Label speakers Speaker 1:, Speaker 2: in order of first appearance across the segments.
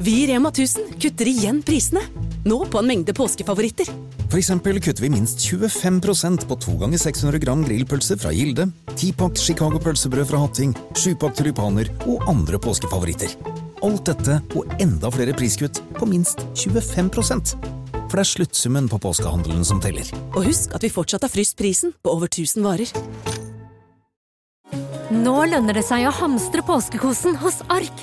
Speaker 1: Vi i Rema 1000 kutter igjen prisene. Nå på en mengde påskefavoritter.
Speaker 2: For eksempel kutter vi minst 25 på 2 ganger 600 gram grillpølse fra Gilde, 10-pakk Chicago pølsebrød fra Hatting, 7-pakk tulipaner og andre påskefavoritter. Alt dette og enda flere priskutt på minst 25 For det er sluttsummen på påskehandelen som teller.
Speaker 1: Og husk at vi fortsatt har fryst prisen på over 1000 varer.
Speaker 3: Nå lønner det seg å hamstre påskekosen hos Ark.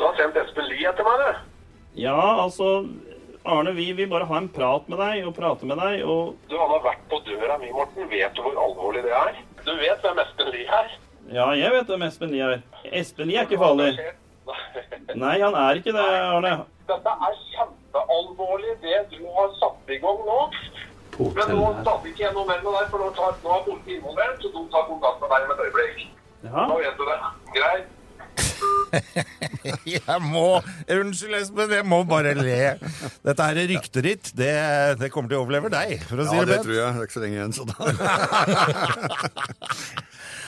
Speaker 4: Du har sendt Espen Lie etter meg, du.
Speaker 5: Ja, altså Arne, vi vil bare ha en prat med deg og prate med deg. Og
Speaker 4: Du, han har vært på døra mi, Morten. Vet du hvor alvorlig det er? Du vet hvem Espen Lie er?
Speaker 5: ja, jeg vet hvem Espen Lie er. Espen Lie er ikke farlig. Nei, han er ikke det, Arne.
Speaker 4: Dette er kjempealvorlig, det du har satt i gang nå. Men nå snakker ikke jeg noe mer med deg, for nå, tar, nå er politiet involvert, og de tar kontakt med deg med et øyeblikk.
Speaker 5: Ja,
Speaker 4: Nå vet du det. Greit.
Speaker 6: Jeg må Unnskyld, Espen, jeg må bare le. Dette her er ryktet ditt. Det, det kommer til å overleve deg, for å si
Speaker 7: Ja,
Speaker 6: det
Speaker 7: det tror
Speaker 6: pent.
Speaker 7: jeg. Det er ikke så lenge igjen. Så da.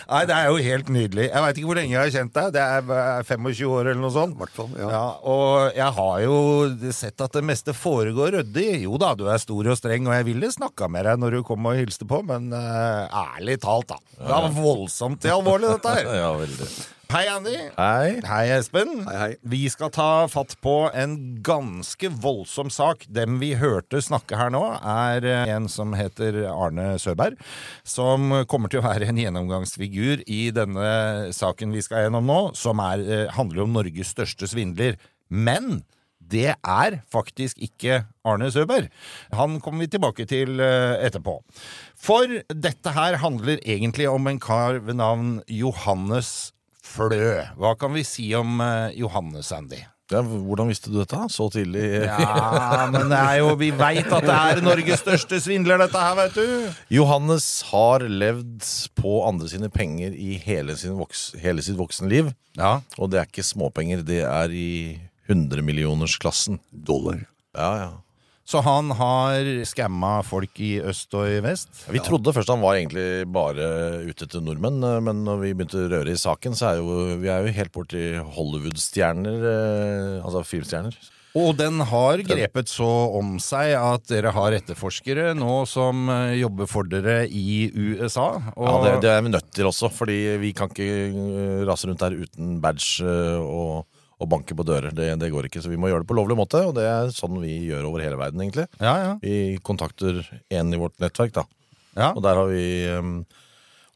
Speaker 6: Nei, det er jo helt nydelig. Jeg veit ikke hvor lenge jeg har kjent deg. Det er eh, 25 år eller noe sånt.
Speaker 7: Hvertfall, ja.
Speaker 6: og jeg har jo sett at det meste foregår ryddig. Jo da, du er stor og streng, og jeg ville snakka med deg når du kom og hilste på, men eh, ærlig talt, da. Det var voldsomt alvorlig, dette her.
Speaker 7: Ja, veldig.
Speaker 6: Hei, Andy.
Speaker 7: Hei.
Speaker 6: Hei, Espen.
Speaker 7: Hei, hei.
Speaker 6: Vi skal ta fatt på en ganske voldsom sak. Dem vi hørte snakke her nå, er eh, en som heter Arne Søberg, som kommer til å være en gjennomgangsfigur i denne saken vi skal gjennom nå, som er, eh, handler om Norges største svindler. Men det er faktisk ikke Arne Søberg. Han kommer vi tilbake til eh, etterpå. For dette her handler egentlig om en kar ved navn Johannes Flø. Hva kan vi si om eh, Johannes, Andy?
Speaker 8: Ja, hvordan visste du dette? Så tidlig?
Speaker 6: Ja, men det er jo, vi veit at det er Norges største svindler, dette her, vet du.
Speaker 8: Johannes har levd på andre sine penger i hele, sin voks, hele sitt voksenliv.
Speaker 6: Ja,
Speaker 8: Og det er ikke småpenger, det er i hundremillionersklassen.
Speaker 7: Dollar.
Speaker 8: Ja, ja.
Speaker 6: Så han har skamma folk i øst og i vest?
Speaker 8: Vi trodde først han var egentlig bare ute etter nordmenn, eh, men når vi begynte å røre i saken, så er jo vi er jo helt borti Hollywood-stjerner. eh, Altså filmstjerner.
Speaker 6: Og den har grepet så om seg at dere har etterforskere nå som eh, jobber for dere i USA. Og,
Speaker 8: Ja, det, det er vi nødt til også, fordi vi kan ikke eh, rase rundt her uten badge eh, og, og banke på dører. Det, det går ikke, så vi må gjøre det på lovlig måte, og det er sånn vi gjør over hele verden, egentlig.
Speaker 6: ja, ja.
Speaker 8: Vi kontakter en i vårt nettverk, da.
Speaker 6: Ja.
Speaker 8: Og der har vi eh,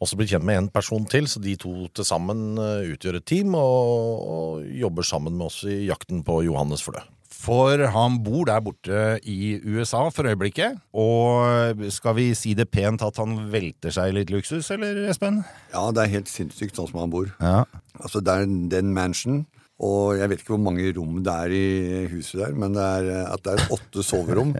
Speaker 8: også blitt kjent med en person til, så de to til sammen eh, utgjør et team og, og jobber sammen med oss i jakten på Johannes Flø.
Speaker 6: For han bor der borte i USA for øyeblikket. Og skal vi si det pent at han velter seg i litt luksus, eller, Espen?
Speaker 7: Ja, det er helt sinnssykt sånn som han bor.
Speaker 6: Ja.
Speaker 7: Altså, det er den mansion, og jeg vet ikke hvor mange rom det er i huset der, men det er eh, at det er åtte soverom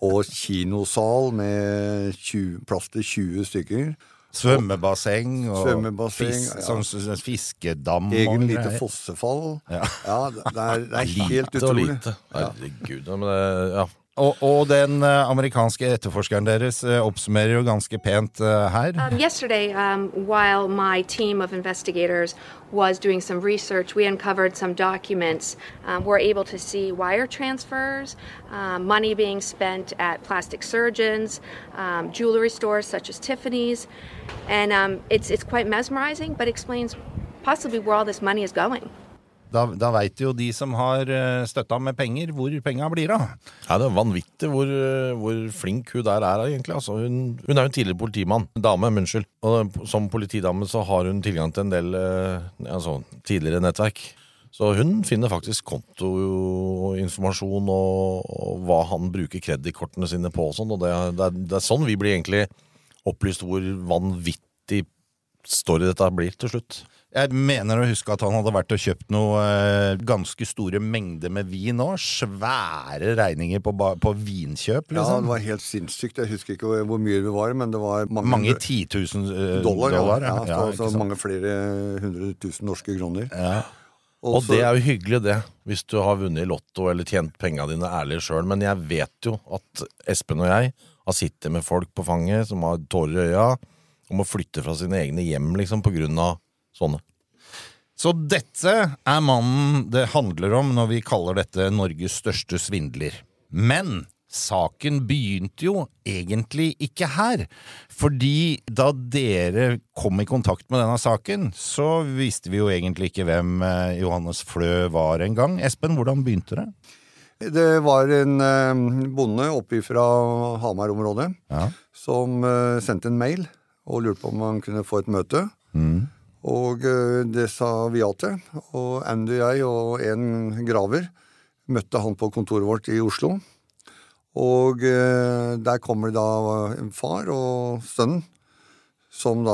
Speaker 7: og kinosal med 20, plass til 20 stykker.
Speaker 6: Svømmebasseng og
Speaker 7: Svømmebasseng,
Speaker 6: fis-
Speaker 7: ja.
Speaker 6: sånn, sånn fiskedam. og
Speaker 7: Egen lite
Speaker 6: greier.
Speaker 7: fossefall. Ja, det, er, det er helt
Speaker 6: Lite og
Speaker 7: utrolig.
Speaker 6: lite.
Speaker 7: Ja.
Speaker 8: Herregud, ja, men det, ja.
Speaker 6: Og, og den eh, amerikanske etterforskeren deres eh, oppsummerer jo ganske pent eh, her.
Speaker 9: Um, yesterday, um, while my team of investigators was doing some research, we uncovered some documents. Um, we're able to see wire transfers, um, money being spent at plastic surgeons, um, jewelry stores such as Tiffany's, and um, it's it's quite mesmerizing, but explains possibly where all this money is going.
Speaker 6: Da, da veit jo de som har eh, støtta med penger, hvor penga blir av.
Speaker 8: Ja, det er vanvittig hvor, eh, hvor flink hun der er, egentlig. Altså, hun, hun er jo en tidligere politimann. Dame, men unnskyld. Og eh, som politidame så har hun tilgang til en del eh, altså, tidligere nettverk. Så hun finner faktisk kontoinformasjon og, og hva han bruker kredittkortene sine på og sånn. Og det, er- det, er, det er sånn vi blir egentlig opplyst hvor vanvittig story dette blir til slutt.
Speaker 6: Jeg mener å huske at han hadde vært og kjøpt noe eh, ganske store mengder med vin òg. Svære regninger på, ba- på vinkjøp,
Speaker 7: Ja, det
Speaker 6: liksom.
Speaker 7: var helt sinnssykt. Jeg husker ikke hvor- hvor mye det var, men det var mange,
Speaker 6: mange titusen eh,
Speaker 7: dollar.
Speaker 6: dollar.
Speaker 7: dollar ja.
Speaker 6: ja.
Speaker 7: Ja,
Speaker 6: Ja,
Speaker 7: altså
Speaker 6: ikke sant.
Speaker 7: mange flere hundre tusen norske kroner.
Speaker 8: Og
Speaker 7: så-
Speaker 8: det er jo hyggelig, det, hvis du har vunnet i Lotto eller tjent penga dine ærlig sjøl, men jeg vet jo at Espen og jeg har sittet med folk på fanget som har tårer i øya, og må flytte fra sine egne hjem, liksom, på grunn av sånne.
Speaker 6: Så dette er mannen det handler om når vi kaller dette Norges største svindler. Men saken begynte jo egentlig ikke her. Fordi da dere kom i kontakt med denne saken, så visste vi jo egentlig ikke hvem eh, Johannes Flø var engang. Espen, hvordan begynte det?
Speaker 7: Det var en eh, bonde oppe fra Hamar-området som eh, sendte en mail og lurte på om han kunne få et møte.
Speaker 6: Mm.
Speaker 7: Og eh, det sa vi ja til. Og Andy og jeg og en graver møtte han på kontoret vårt i Oslo. Og eh, der kommer det da en far og sønnen, som da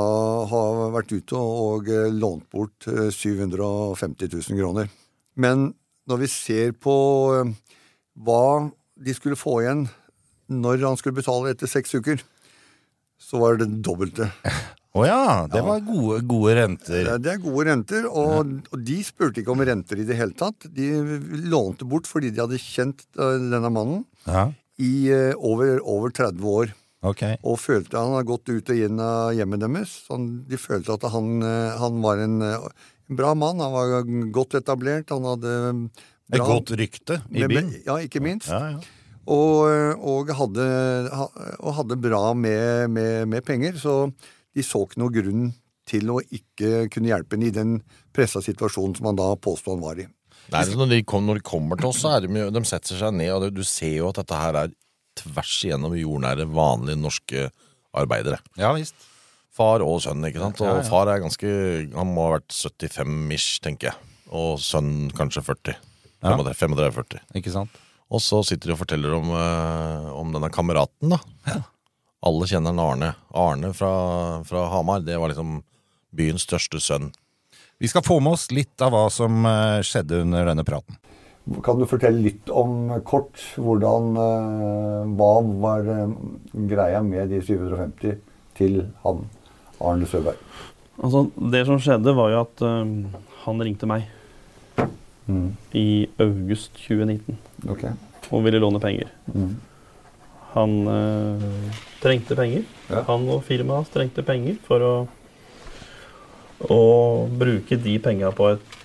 Speaker 7: har vært ute og eh, lånt bort eh, 750 000 kroner. Men når vi ser på eh, hva de skulle få igjen når han skulle betale etter seks uker, så var det det dobbelte.
Speaker 6: Å ja, det var gode, gode renter.
Speaker 7: Det er gode renter, og, og de spurte ikke om renter i det hele tatt. De lånte bort fordi de hadde kjent eh, denne mannen
Speaker 6: Ja.
Speaker 7: i eh, over, over 30 år.
Speaker 6: Ok.
Speaker 7: Og følte han hadde gått ut og inn av hjemmet deres. Så han- de følte at han, eh, han var en, eh, en bra mann. Han var godt etablert. Han hadde eh,
Speaker 6: Et
Speaker 7: bra-
Speaker 6: godt rykte i
Speaker 7: Men- men-
Speaker 6: byen.
Speaker 7: Ja, ikke minst.
Speaker 6: Ja, ja.
Speaker 7: Og, og, hadde, ha- og hadde bra med, med, med penger, så de så ikke noe grunn til å ikke kunne hjelpe ham i den pressa situasjonen som han da påsto han var i.
Speaker 8: Det er sånn når, de kom, når de kommer til oss, så er de, jo- de setter seg ned, og det- du ser jo at dette her er tvers igjennom jordnære, vanlige norske arbeidere.
Speaker 6: Ja, visst.
Speaker 8: Far og sønn, ikke sant? Og
Speaker 6: Ja, ja.
Speaker 8: far er ganske, han må ha vært 75-ish, tenker jeg. Og sønn kanskje 40.
Speaker 6: Ja.
Speaker 8: 35-40.
Speaker 6: Ikke sant?
Speaker 8: Og så sitter de og forteller om, eh, om denne kameraten, da. Alle kjenner han Arne. Arne fra, fra Hamar, det var liksom byens største sønn.
Speaker 6: Vi skal få med oss litt av hva som eh, skjedde under denne praten.
Speaker 7: Kan du fortelle litt om kort hvordan eh, Hva var eh, greia med de 750 til han Arne Søberg?
Speaker 5: Altså, det som skjedde, var jo at øhm, han ringte meg
Speaker 7: Mm.
Speaker 5: i august 2019
Speaker 7: Ok.
Speaker 5: og ville låne penger.
Speaker 7: Mm.
Speaker 5: Han øh, trengte penger.
Speaker 7: Ja.
Speaker 5: Han og firmaet hans trengte penger for å, å bruke de penga på et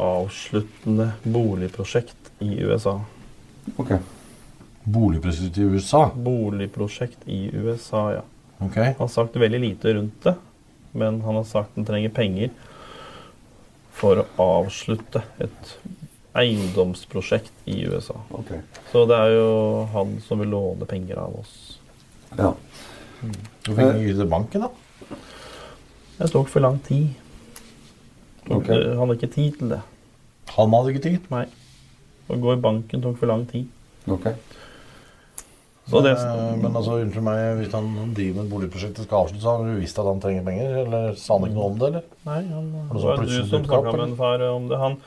Speaker 5: avsluttende boligprosjekt i USA.
Speaker 7: Ok.
Speaker 8: Boligpresident i USA?
Speaker 5: Boligprosjekt i USA, ja.
Speaker 8: Ok.
Speaker 5: Han har sagt veldig lite rundt det, men han har sagt han trenger penger for å avslutte et eiendomsprosjekt i USA.
Speaker 7: Ok.
Speaker 5: Så det er jo han som vil låne penger av oss.
Speaker 7: Ja.
Speaker 8: Hvorfor ikke gi det til banken, da?
Speaker 5: Det tok for lang tid. Tok,
Speaker 8: Ok.
Speaker 5: Han hadde ikke tid til det.
Speaker 8: Han hadde ikke tid?
Speaker 5: Nei. Å gå i banken tok for lang tid.
Speaker 7: Ok.
Speaker 5: Så det-
Speaker 8: Eh, Men altså, unnskyld meg, hvis han driver med boligprosjektet skal avsluttes, så har du visst at han trenger penger? Eller sa han ikke noe om det, eller?
Speaker 5: Nei, han
Speaker 8: Var
Speaker 5: Det
Speaker 8: det
Speaker 5: var
Speaker 8: sånn
Speaker 5: du
Speaker 8: plutselig
Speaker 5: som
Speaker 8: dukket opp,
Speaker 5: snakka med
Speaker 8: eller?
Speaker 5: en far eh, om det. Han,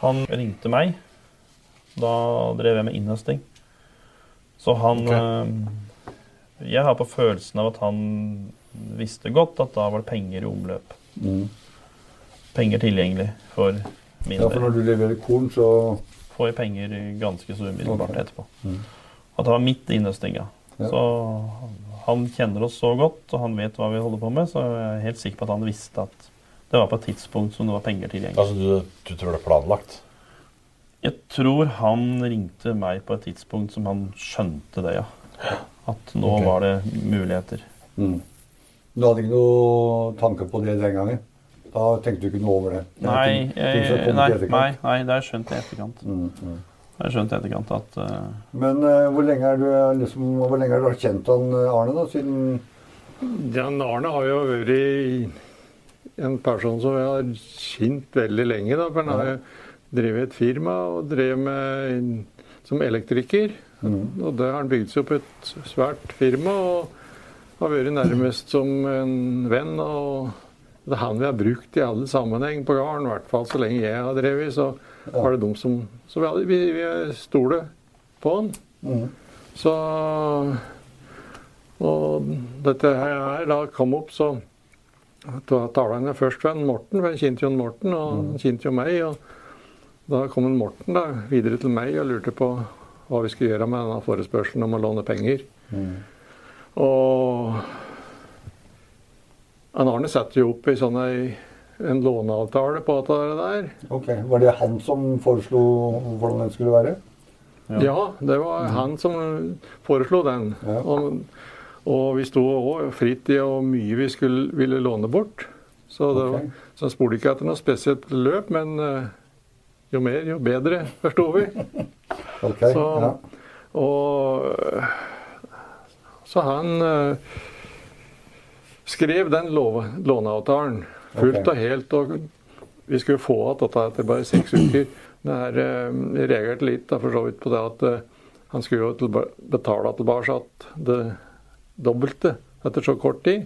Speaker 5: han ringte meg. Da drev jeg med innhøsting. Så han eh, Jeg har på følelsen av at han visste godt at da var det penger i omløp. Penger tilgjengelig for min
Speaker 7: Mm. Ja, for når du leverer korn, så
Speaker 5: Får jeg penger ganske så
Speaker 7: Ok.
Speaker 5: umiddelbart
Speaker 7: Mm.
Speaker 5: etterpå. At det var midt i innhøstinga.
Speaker 7: Ja.
Speaker 5: Så han kjenner oss så godt, og han vet hva vi holder på med, så jeg er helt sikker på at han visste at det var på et tidspunkt som det var penger tilgjengelig.
Speaker 8: Altså, du, du tror det er planlagt?
Speaker 5: Jeg tror han ringte meg på et tidspunkt som han skjønte det, ja. At nå
Speaker 7: Ok.
Speaker 5: var det muligheter.
Speaker 7: Du hadde ikke noe tanke på det den gangen? Da tenkte du ikke noe over det? Det er
Speaker 5: Nei,
Speaker 7: ting- ting som
Speaker 5: jeg,
Speaker 7: kommer
Speaker 5: nei,
Speaker 7: til etterkant.
Speaker 5: nei, nei, det har jeg skjønt i etterkant.
Speaker 8: Mm,
Speaker 5: Det har jeg skjønt i etterkant at eh,
Speaker 7: Men eh, hvor, lenge er du, eh, liksom, hvor lenge har du kjent han eh, Arne, da? Siden
Speaker 6: Jan Arne har jo vært en person som jeg har kjent veldig lenge. Da, for han har jo drevet et firma og drev med, som elektriker.
Speaker 7: Mhm.
Speaker 6: Og det har han bygd seg opp et svært firma og har vært nærmest som en venn. Og det er han vi har brukt i alle sammenheng på gården, i hvert fall så lenge jeg har drevet. Så var det de som Så vi, hadde- vi, vi stoler på han.
Speaker 7: Mhm.
Speaker 6: Så Og dette her da kom opp, så da talte han først med en Morten, for han kjente jo en Morten, og han kjente jo meg. og Da kom en Morten da, videre til meg og lurte på hva vi skulle gjøre med denne forespørselen om å låne penger.
Speaker 7: Mm.
Speaker 6: Og han Arne satte jo opp i sånn ei- en låneavtale på at det der.
Speaker 7: Ok, Var det han som foreslo hvordan den skulle være? Mm.
Speaker 6: Ja, det var han som foreslo den. Og, og vi sto òg fritt i hvor mye vi skulle, ville låne bort. Så, det var, så jeg spurte ikke etter noe spesielt løp, men eh, jo mer, jo bedre, forsto vi. så, Og eh, så han eh, skrev den lov, låneavtalen fullt
Speaker 7: Ok.
Speaker 6: og helt. og vi skulle få igjen dette etter bare seks uker. Men her, eh, jeg reagerte litt da, for så vidt på det at eh, han skulle jo tilba betale tilbake at det dobbelte etter så kort tid.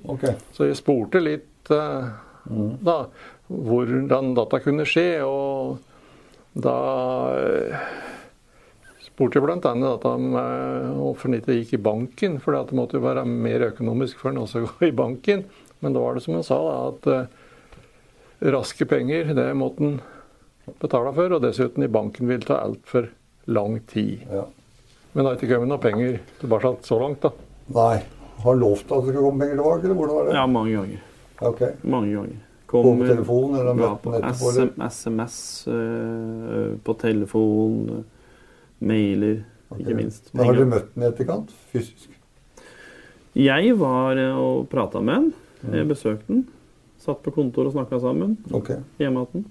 Speaker 6: Så jeg spurte litt eh,
Speaker 8: Mm.
Speaker 6: da hvordan dette kunne skje, og da eh, spurte jeg bl.a. dette om eh, hvorfor han ikke gikk i banken, for det måtte jo være mer økonomisk for han også å gå i banken. Men da var det som han sa, da, at eh, raske penger, det måtte en betale for. Og dessuten i banken vil ta altfor lang tid. Men det har ikke kommet noen penger tilbake så langt, da.
Speaker 7: Nei. Har han lovt at det skulle komme penger tilbake, eller hvordan var det?
Speaker 10: Ja, mange ganger.
Speaker 7: Ok.
Speaker 10: Mange ganger.
Speaker 7: På telefon eller
Speaker 10: ja,
Speaker 7: møten
Speaker 10: på
Speaker 7: etterpå, eller?
Speaker 10: SM, SMS, eh, på telefon, eh, mailer, ikke minst.
Speaker 7: Men har du møtt ham i etterkant? Fysisk?
Speaker 10: Jeg var eh, og prata med han. Jeg besøkte han. Satt på kontor og snakka sammen hjemme hos han.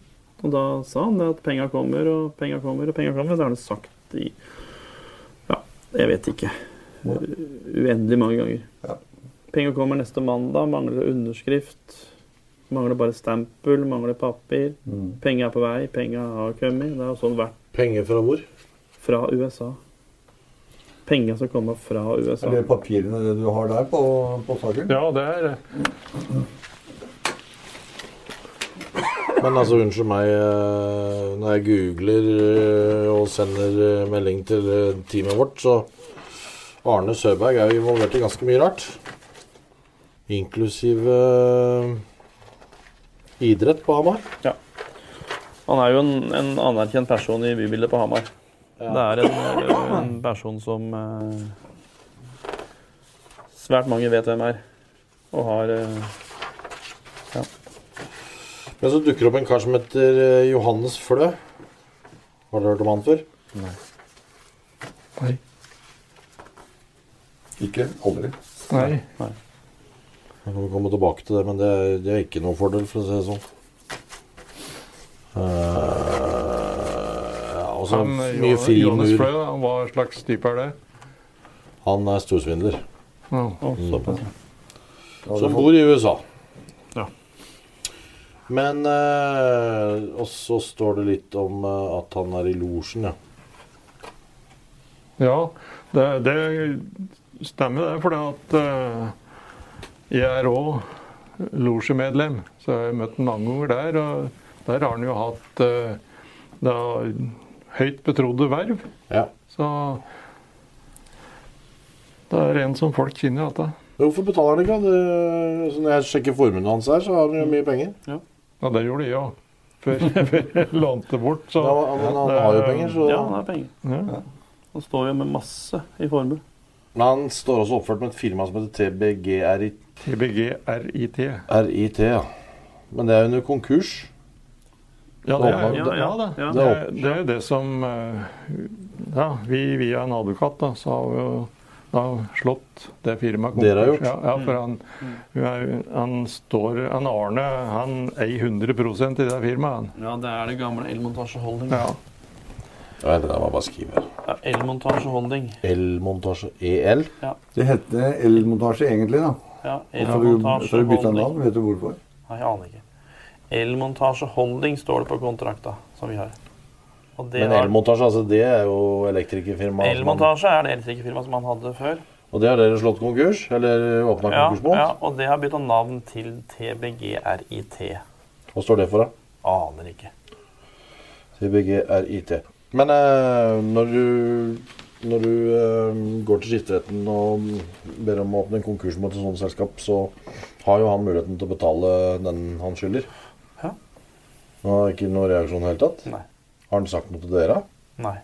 Speaker 10: Og da sa han det at penga kommer og penga kommer og penga kommer. Det har han sagt i Ja, jeg vet ikke. U- Uendelig mange ganger. Penga kommer neste mandag. Mangler underskrift. Mangler bare stempel. Mangler papir.
Speaker 7: Mm.
Speaker 10: Penga er på vei. Penga har kommet. Det har sånn vært. Penger fra hvor? Fra USA. Penga som kommer fra USA.
Speaker 7: Er det papirene det du har der på, på saken?
Speaker 6: Ja, det er det.
Speaker 8: Men altså, unnskyld meg, eh, når jeg googler eh, og sender eh, melding til eh, teamet vårt, så Arne Søberg er jo involvert i ganske mye rart. Inklusiv eh, idrett på Hamar.
Speaker 5: Ja. Han er jo en, en anerkjent person i bybildet på Hamar. Det er en, en person som eh, svært mange vet hvem er. Og har eh, ja.
Speaker 8: Men så dukker det opp en kar som heter eh, Johannes Flø. Har du hørt om han før?
Speaker 7: Nei. Ikke? Aldri?
Speaker 6: Nei.
Speaker 8: Jeg kan komme tilbake til det, men det, er- det er ikke noe fordel, for å si det sånn. Eh, ja, og så
Speaker 6: Han, eh,
Speaker 8: mye
Speaker 6: Jo-
Speaker 8: fri
Speaker 6: Johannes
Speaker 8: mur.
Speaker 6: Fløy, da, hva slags type er det?
Speaker 8: Han er storsvindler.
Speaker 6: Ja.
Speaker 8: Mm.
Speaker 6: Ja,
Speaker 8: Som
Speaker 6: det-
Speaker 8: bor i USA.
Speaker 6: Ja.
Speaker 8: Men eh, Og så står det litt om eh, at han er i losjen, ja.
Speaker 6: Ja, det, det stemmer det, for det at eh, jeg er òg losjemedlem. Så jeg har møtt ham mange ganger der, og der har han jo hatt eh, da, høyt betrodde verv. Så det er en som folk kjenner, dette.
Speaker 8: Men Hvorfor betaler han ikke? han? Det, altså, når jeg sjekker formuen hans her, så har han jo mye penger.
Speaker 11: Ja, det gjorde jeg òg. Før før jeg lånte bort. Så.
Speaker 8: Ja, men han har jo penger, så-
Speaker 5: Ja, han har penger. Han står jo med masse i formue.
Speaker 8: Men han står også oppført med et firma som heter TBGRIT.
Speaker 11: TBGRIT.
Speaker 8: RIT, ja. Men det er jo under konkurs.
Speaker 11: Ja, det er,
Speaker 8: åpner-
Speaker 11: ja, ja da.
Speaker 8: det
Speaker 11: Det,
Speaker 8: åpner-
Speaker 11: er- det er jo det som eh, Ja, vi via en advokat da, så har vi jo da slått det firmaet
Speaker 8: Dere har gjort?
Speaker 11: Ja, ja, for han,
Speaker 5: Mm.
Speaker 11: han, står Han Arne, han eier 100 i det firmaet, han.
Speaker 5: Ja, det er det gamle Elmontasje Holding.
Speaker 11: Ja.
Speaker 8: Ja, eller det var bare å skrive.
Speaker 5: Ja, Elmontasje Holding.
Speaker 8: Elmontasje E EL.
Speaker 5: Ja.
Speaker 6: Det hette elmontasje egentlig, da.
Speaker 5: Ja,
Speaker 6: Og så vi,
Speaker 5: Elmontasje
Speaker 6: så vi bytta
Speaker 5: Holding.
Speaker 6: navn, vet du hvorfor?
Speaker 5: Nei, jeg aner ikke. Elmontasje Holding står det på kontrakta som vi har. Og det
Speaker 8: Men
Speaker 5: har-
Speaker 8: Elmontasje, altså det er jo elektrikerfirmaet. som han-
Speaker 5: Elmontasje er det elektrikerfirmaet som han hadde før.
Speaker 8: Og det har dere slått konkurs? Eller åpna
Speaker 5: Ja,
Speaker 8: konkurs på?
Speaker 5: ja, og det har bytta navn til TBGRIT.
Speaker 8: Hva står det for, da?
Speaker 5: Aner ikke.
Speaker 8: TBGRIT. Men eh, når du, når du eh, går til skifteretten og ber om å åpne en konkurs mot et sånt selskap, så har jo han muligheten til å betale den han skylder.
Speaker 5: Ja.
Speaker 8: Nå har ikke noen reaksjon i det hele tatt?
Speaker 5: Nei.
Speaker 8: Har han sagt noe til dere?
Speaker 5: Nei.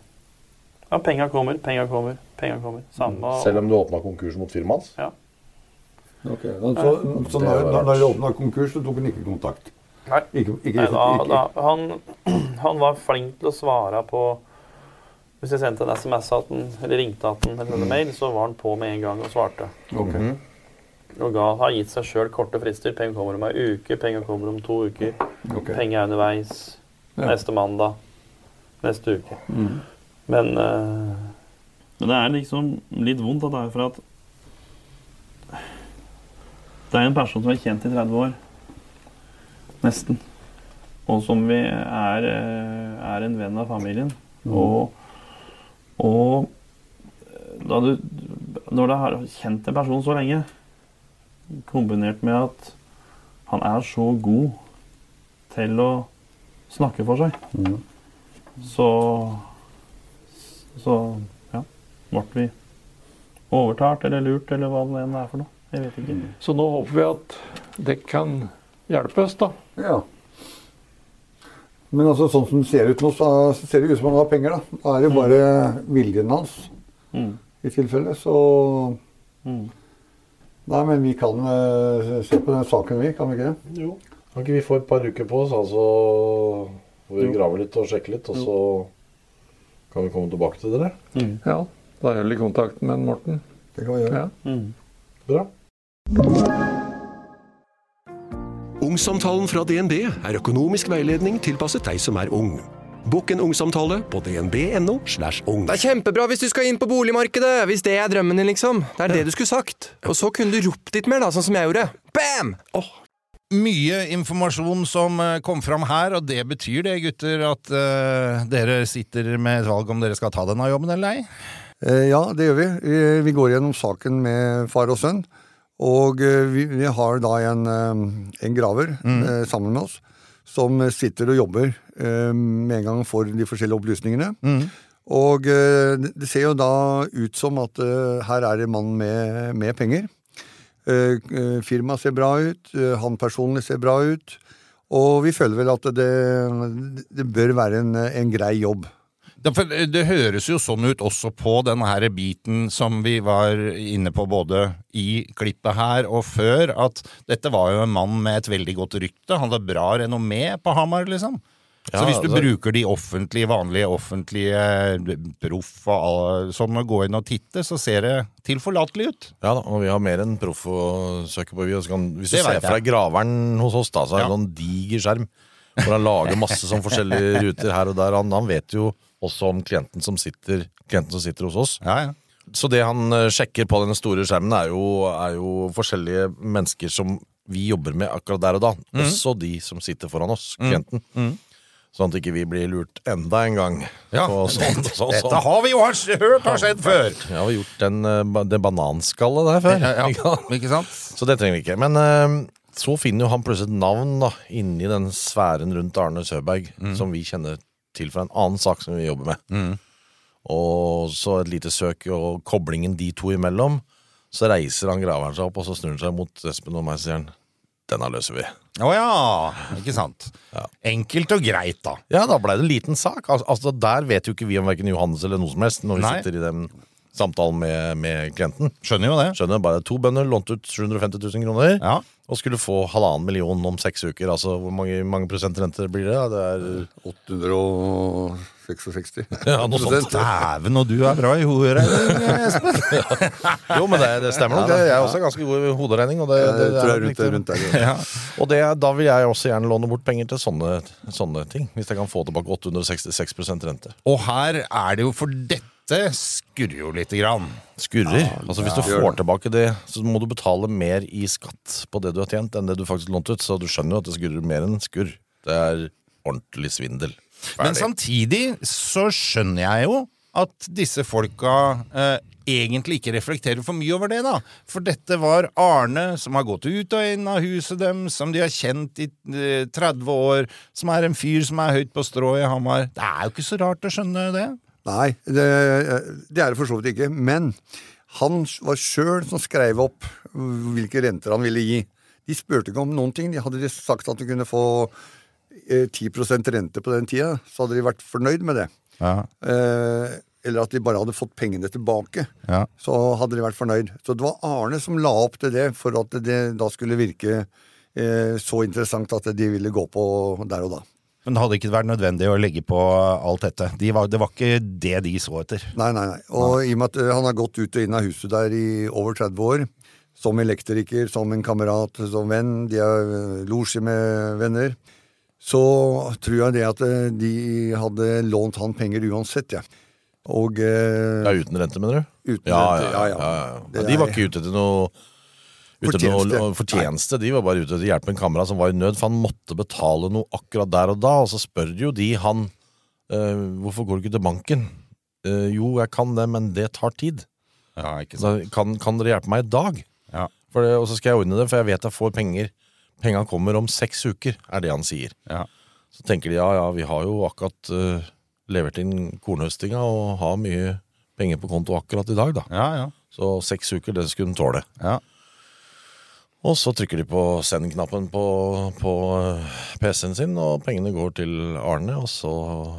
Speaker 5: Ja, penga kommer, penga kommer, penga kommer. Samme
Speaker 8: Selv om du åpna konkurs mot firmaet hans?
Speaker 5: Ja.
Speaker 6: Ok, da- Så, så
Speaker 8: Det
Speaker 6: når,
Speaker 8: var
Speaker 6: når
Speaker 8: rart.
Speaker 6: de åpna konkurs, så tok han ikke kontakt?
Speaker 5: Nei.
Speaker 6: Ikke, ikke,
Speaker 5: Nei, da,
Speaker 6: ikke-
Speaker 5: da, han, han var flink til å svare på Hvis jeg sendte en SMS at han, eller ringte at han, eller sendte mail, så var han på med en gang og svarte.
Speaker 6: Ok.
Speaker 12: Mm-hmm.
Speaker 5: Og ga, har gitt seg sjøl korte frister. Penger kommer om ei uke, penger kommer om to uker. Penger er underveis.
Speaker 12: Ja.
Speaker 5: Neste mandag. Neste uke.
Speaker 12: Mhm.
Speaker 5: Men eh,
Speaker 12: Men det er liksom litt vondt at det er for at Det er en person som er kjent i 30 år. Nesten. Og som vi er, eh, er en venn av familien.
Speaker 6: Mm.
Speaker 5: Mhm.
Speaker 12: Og, og da du, når du har kjent en person så lenge, kombinert med at han er så god til å snakke for seg,
Speaker 6: Mm.
Speaker 12: så Så ja, ble vi overtalt eller lurt eller hva det enn er for noe. Jeg vet ikke.
Speaker 11: Så nå håper vi at det kan hjelpe oss, da.
Speaker 6: Ja. Men altså, sånn som det ser ut nå, så ser det ut som han har penger. Da Da er det
Speaker 8: Mm.
Speaker 6: bare viljen hans
Speaker 12: Mm.
Speaker 6: i tilfelle. Så
Speaker 8: Mm.
Speaker 6: Nei, men vi kan eh, se på den saken, vi. Kan vi ikke det?
Speaker 8: Jo. Kan ikke vi få et par uker på oss, altså får vi
Speaker 6: Jo.
Speaker 8: graver litt og sjekker litt, og så kan vi komme tilbake til dere?
Speaker 11: Ja, da holder vi kontakten med Morten.
Speaker 6: Det kan vi gjøre.
Speaker 11: Ja.
Speaker 8: Bra.
Speaker 13: Ungsamtalen fra DNB er økonomisk veiledning tilpasset deg som er ung. Bokk en ungsamtale på dnb.no. slash ung.
Speaker 7: Det er kjempebra hvis du skal inn på boligmarkedet, hvis det er drømmen din, liksom. Det er det du skulle sagt. Og så kunne du ropt litt mer, da, sånn som jeg gjorde. Bam!
Speaker 2: Mye informasjon som eh, kom fram her, og det betyr det, gutter, at eh, dere sitter med et valg om dere skal ta denne jobben eller ei.
Speaker 6: Eh, Ja, det gjør vi. Vi- Vi går gjennom saken med far og sønn. Og eh, vi, vi har da en, eh, en graver eh, sammen med oss som sitter og jobber eh, med en gang for de forskjellige opplysningene. Og eh, det det ser jo da ut som at eh, her er det en mann med, med penger. Eh, eh, Firmaet ser bra ut, eh, han personlig ser bra ut. Og vi føler vel at det, det bør være en, en grei jobb.
Speaker 2: Ja, for det høres jo sånn ut også på denne her biten som vi var inne på både i klippet her og før, at dette var jo en mann med et veldig godt rykte. Han hadde bra renommé på Hamar, liksom. så
Speaker 14: Ja,
Speaker 2: hvis du
Speaker 14: altså-
Speaker 2: bruker de offentlige, vanlige offentlige eh, proff og all- sånn å gå inn og titte, så ser det tilforlatelig ut.
Speaker 14: Ja da, og vi har mer enn proff å søke på. Vi også kan, hvis du
Speaker 2: Det
Speaker 14: ser
Speaker 2: vet jeg.
Speaker 14: for deg graveren hos oss, da, så er det sånn diger skjerm. Hvor han lager masse sånn forskjellige ruter her og der. Han, han vet jo også om klienten som sitter, klienten som sitter hos oss. Så det han eh, sjekker på den store skjermen, er jo, er jo forskjellige mennesker som vi jobber med akkurat der og da.
Speaker 2: Mhm.
Speaker 14: Også de som sitter foran oss,
Speaker 2: Mm.
Speaker 14: klienten. Sånn at ikke vi blir lurt enda en gang.
Speaker 2: Ja,
Speaker 14: på
Speaker 8: sånn,
Speaker 14: sånt og sånt.
Speaker 2: Dette har vi jo har- hørt har skjedd før!
Speaker 14: Jeg har gjort den, eh, ba- det bananskallet der før.
Speaker 2: Ja, ja.
Speaker 14: Så det trenger vi ikke. Men eh, så finner jo han plutselig et navn da, inni den sfæren rundt Arne Søberg,
Speaker 2: Mm.
Speaker 14: som vi kjenner til fra en annen sak som vi jobber med. Og så et lite søk og koblingen de to imellom.
Speaker 6: Så reiser han graveren seg opp, og så snur han seg mot Espen og meg og sier han, denne løser vi.
Speaker 2: Å ja, ikke sant. Enkelt og greit, da.
Speaker 6: Ja, da blei det en liten sak. Al altså, Der vet jo ikke vi om verken Johannes eller noe som helst når vi
Speaker 2: Nei.
Speaker 6: sitter i den samtalen med, med klienten.
Speaker 2: Skjønner jo det.
Speaker 6: Skjønner bare To bønder lånte ut 750 000 kroner og skulle få halvannen million om seks uker. Altså, Hvor mange, mange prosent rente blir det? da? Det er
Speaker 8: 866.
Speaker 6: Ja, noe sånt.
Speaker 2: Dæven, og du er bra i hoderegning, Espen.
Speaker 6: Jo, men det, det stemmer
Speaker 2: Ja,
Speaker 6: nok. det.
Speaker 2: da.
Speaker 6: Jeg er også ganske god i hoderegning. Og det,
Speaker 2: Ja,
Speaker 6: det,
Speaker 2: jeg tror jeg
Speaker 6: er
Speaker 2: er rundt
Speaker 6: riktig.
Speaker 2: det, rundt der, ja.
Speaker 6: Ja. Og det, er- da vil jeg også gjerne låne bort penger til sånne, sånne ting. Hvis jeg kan få tilbake 866 rente.
Speaker 2: Og her er det jo for dette skurrer jo lite grann.
Speaker 6: Skurrer? altså Hvis du
Speaker 2: Ja.
Speaker 6: får tilbake det, så må du betale mer i skatt på det du har tjent, enn det du faktisk lånte ut. Så du skjønner jo at det skurrer mer enn skurr. Det er ordentlig svindel.
Speaker 2: Men samtidig så skjønner jeg jo at disse folka eh, egentlig ikke reflekterer for mye over det, da. For dette var Arne, som har gått ut og inn av huset dem, som de har kjent i eh, 30 år, som er en fyr som er høyt på strå i Hamar. Det er jo ikke så rart å skjønne det.
Speaker 8: Nei, det, det er det for så vidt ikke. Men han var sjøl som skrev opp hvilke renter han ville gi. De spurte ikke om noen ting. De hadde de sagt at du kunne få eh, 10 rente på den tida, så hadde de vært fornøyd med det.
Speaker 2: Ja.
Speaker 8: Eh, eller at de bare hadde fått pengene tilbake.
Speaker 2: Ja.
Speaker 8: Så hadde de vært fornøyd. Så det var Arne som la opp til det for at det da skulle virke eh, så interessant at de ville gå på der og da.
Speaker 2: Men det hadde ikke vært nødvendig å legge på alt dette. De var, det var ikke det de så etter.
Speaker 8: Nei, nei, nei. Og i og med at ø, han har gått ut og inn av huset der i over 30 år, som elektriker, som en kamerat, som venn, de har ø, losje med venner, så tror jeg det at ø, de hadde lånt han penger uansett, ja. Og eh,
Speaker 6: Ja, uten rente, mener du?
Speaker 8: Uten
Speaker 6: ja,
Speaker 8: rente,
Speaker 6: ja,
Speaker 8: ja,
Speaker 6: ja,
Speaker 8: ja.
Speaker 6: ja.
Speaker 8: Det
Speaker 6: De
Speaker 8: er-
Speaker 6: var ikke ute etter noe Ute etter
Speaker 8: Fortjeneste.
Speaker 6: Noe fortjeneste. De var bare ute etter å hjelpe en kamerat som var i nød, for han måtte betale noe akkurat der og da. Og så spør jo de han eh, hvorfor går du ikke til banken. Eh, jo, jeg kan det, men det tar tid. Så Kan, kan dere hjelpe meg i dag? For det, og så skal jeg ordne det, for jeg vet jeg får penger. Penga kommer om seks uker, er det han sier. Så tenker de ja, ja, vi har jo akkurat eh, levert inn kornhøstinga og har mye penger på konto akkurat i dag, da. Så seks uker, det skulle den tåle. Og så trykker de på send-knappen på, på eh, PC-en sin, og pengene går til Arne, og så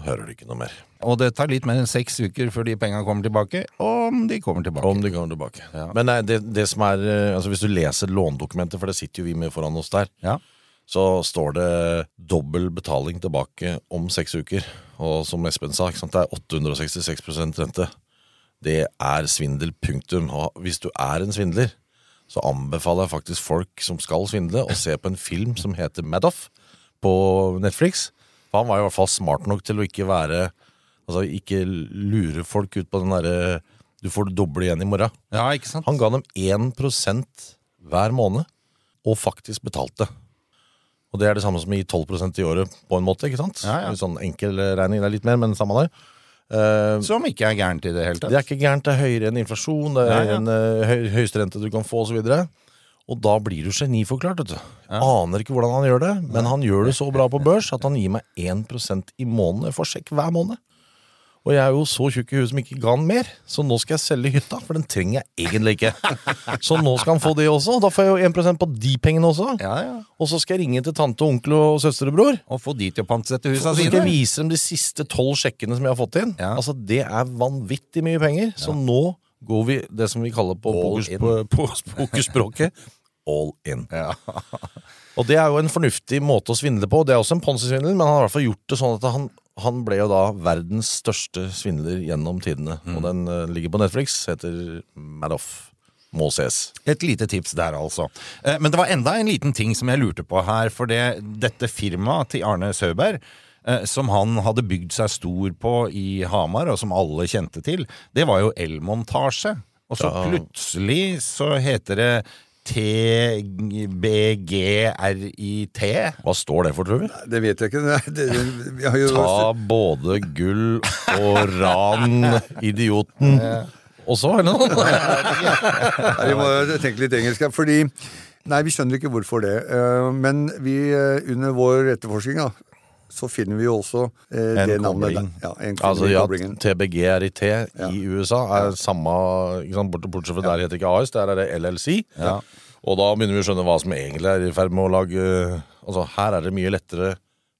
Speaker 6: hører de ikke noe mer.
Speaker 2: Og det tar litt mer enn seks uker før de penga kommer tilbake. Om de kommer tilbake.
Speaker 6: Om de kommer tilbake. Men nei, det, det som er eh, altså Hvis du leser lånedokumentet, for det sitter jo vi med foran oss der, så står det dobbel betaling tilbake om seks uker. Og som Espen sa, ikke sant, det er 866 rente. Det er svindel, punktum. Og hvis du er en svindler, så anbefaler jeg faktisk folk som skal svindle, å se på en film som heter Madoff på Netflix. For han var i hvert fall smart nok til å ikke være Altså ikke lure folk ut på den derre Du får det doble igjen i morgen. Han ga dem 1 hver måned, og faktisk betalte. Og det er det samme som å gi 12 i året, på en måte. ikke sant?
Speaker 2: Ja, ja.
Speaker 6: En Sånn enkel regning. Det er litt mer, men samme det. Eh,
Speaker 2: som ikke er gærent i det hele tatt.
Speaker 6: Det er ikke gærent. Det er høyere enn inflasjon, det er
Speaker 2: Ja,
Speaker 6: høyere
Speaker 2: ja.
Speaker 6: enn eh, høy, høyeste rente du kan få, osv. Og, og da blir du geniforklart, vet du. Aner ikke hvordan han gjør det, men han gjør det så bra på børs at han gir meg 1 i måneden for sjekk hver måned. Og jeg er jo så tjukk i huet som ikke ga han mer, så nå skal jeg selge hytta, for den trenger jeg egentlig ikke. Så nå skal han få det også, da får jeg jo 1 på de pengene også. Og så skal jeg ringe til tante, onkel og søster og bror.
Speaker 2: Og få de til å pantsette
Speaker 6: Og
Speaker 2: husa
Speaker 6: så skal jeg
Speaker 2: sine.
Speaker 6: vise dem de siste tolv sjekkene som jeg har fått inn. Altså, Det er vanvittig mye penger. Så nå går vi det som vi kaller på
Speaker 2: All
Speaker 6: pokus-
Speaker 2: in.
Speaker 6: på- på pokerspråket all in. Og det er jo en fornuftig måte å svindle på. Det er også en ponzi-svindel, men han har i hvert fall gjort det sånn at han, han ble jo da verdens største svindler gjennom tidene.
Speaker 2: Mm.
Speaker 6: Og den eh, ligger på Netflix, heter Madoff. Må ses.
Speaker 2: Et lite tips der, altså. Eh, Men det var enda en liten ting som jeg lurte på her. For det, dette firmaet til Arne Søberg, eh, som han hadde bygd seg stor på i Hamar, og som alle kjente til, det var jo Elmontasje. Og så
Speaker 6: Ja.
Speaker 2: plutselig så heter det TBGRIT.
Speaker 6: Hva står det for, tror vi?
Speaker 8: Det vet jeg ikke. Nei, det, vi har jo
Speaker 6: Ta både gull og ran, idioten. Også, eller noe?
Speaker 8: Nei, vi må tenke litt engelsk her, fordi Nei, vi skjønner ikke hvorfor det. eh, Men vi, eh, under vår etterforskning, da,
Speaker 15: så finner vi jo også eh,
Speaker 8: En
Speaker 15: det navnet der.
Speaker 8: kobling.
Speaker 15: Ja, en kobling,
Speaker 8: altså ja,
Speaker 15: koblingen.
Speaker 8: TBG er i T i USA, er samme ikke sant? Bort, Bortsett fra der heter ikke AS, der er det LLC.
Speaker 6: Ja.
Speaker 8: Og da begynner vi å skjønne hva som egentlig er i ferd med å lage Altså Her er det mye lettere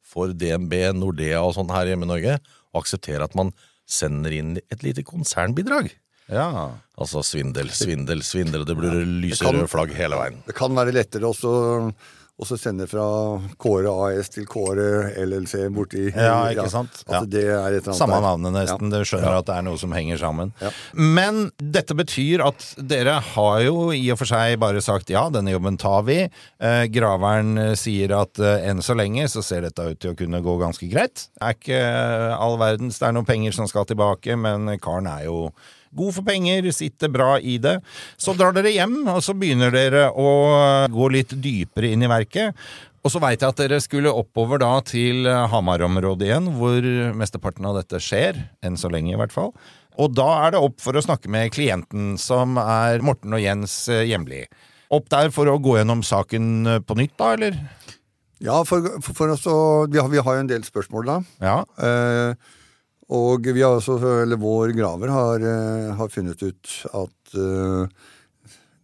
Speaker 8: for DNB, Nordea og sånn her hjemme i Norge å akseptere at man sender inn et lite konsernbidrag.
Speaker 6: Ja.
Speaker 8: Altså svindel, svindel, svindel, og det blir
Speaker 15: kan-
Speaker 8: lyserøde flagg hele veien.
Speaker 15: Det kan være lettere også å sende fra Kåre AS til Kåre LLC borti
Speaker 6: Ja, ikke sant?
Speaker 15: At
Speaker 6: Ja.
Speaker 15: det er et eller annet
Speaker 6: Samme
Speaker 15: der.
Speaker 6: navnet nesten. Dere skjønner at det er noe som henger sammen. Men dette betyr at dere har jo i og for seg bare sagt ja, denne jobben tar vi. Eh, graveren eh, sier at eh, enn så lenge så ser dette ut til å kunne gå ganske greit. Er ikke eh, all verdens Det er noen penger som skal tilbake, men karen er jo God for penger, sitter bra i det. Så drar dere hjem, og så begynner dere å eh, gå litt dypere inn i verket. Og så veit jeg at dere skulle oppover da til eh, Hamar-området igjen, hvor mesteparten av dette skjer. Enn så lenge, i hvert fall. Og da er det opp for å snakke med klienten, som er Morten og Jens eh, Hjemli. Opp der for å gå gjennom saken eh, på nytt, da, eller?
Speaker 15: Ja, for, for, for oss, å- vi, har, vi har jo en del spørsmål da. Eh, og vi har også, eller vår graver har, eh, har funnet ut at eh,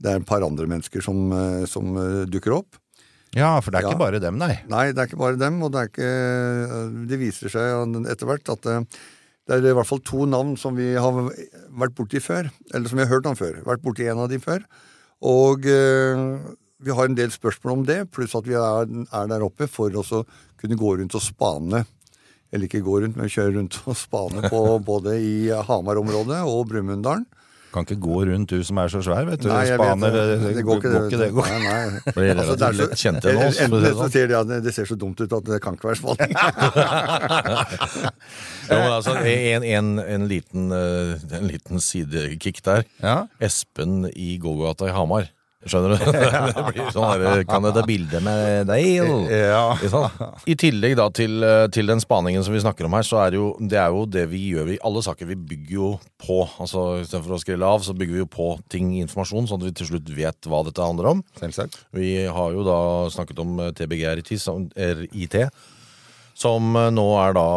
Speaker 15: det er et par andre mennesker som, eh, som eh, dukker opp.
Speaker 6: Ja, for det er ikke bare dem, nei.
Speaker 15: Nei, det er ikke bare dem, og det, er ikke, det viser seg etter hvert at eh, det er i hvert fall to navn som vi har vært borti før, eller som vi har hørt om før. Vært borti en av de før. Og eh, vi har en del spørsmål om det, pluss at vi er, er der oppe for også å kunne gå rundt og spane. Eller ikke gå rundt, men kjøre rundt og spane på både i Hamar-området og Brumunddalen.
Speaker 6: Kan ikke gå rundt, du som er så svær, vet du.
Speaker 15: Nei, jeg vet
Speaker 6: Spaner,
Speaker 15: det.
Speaker 6: det,
Speaker 15: Det går ikke, det,
Speaker 6: det.
Speaker 15: vet du.
Speaker 6: Går.
Speaker 15: Nei, nei.
Speaker 6: Blir
Speaker 15: Altså, det er
Speaker 6: relativt
Speaker 15: så-
Speaker 6: lett kjent enn oss. for å si
Speaker 15: Enten
Speaker 6: det
Speaker 15: så
Speaker 6: sånn.
Speaker 15: sier de at det ser så dumt ut at det kan ikke være spanning.
Speaker 8: Jo, men altså, en, en, en, liten, eh, en liten sidekick der. Espen i Golgata i Hamar. Skjønner du? Det blir sånn der, Kan jeg ta bilde med deg? eller? Ikke sant? I tillegg da til, eh, til den spaningen som vi snakker om her, så er det jo det, er jo det vi gjør i alle saker. Vi bygger jo på. altså Istedenfor å skrille av, så bygger vi jo på ting i informasjon, sånn at vi til slutt vet hva dette handler om. Vi har jo da snakket om eh, TBGRIT, som- RIT, som eh, nå er da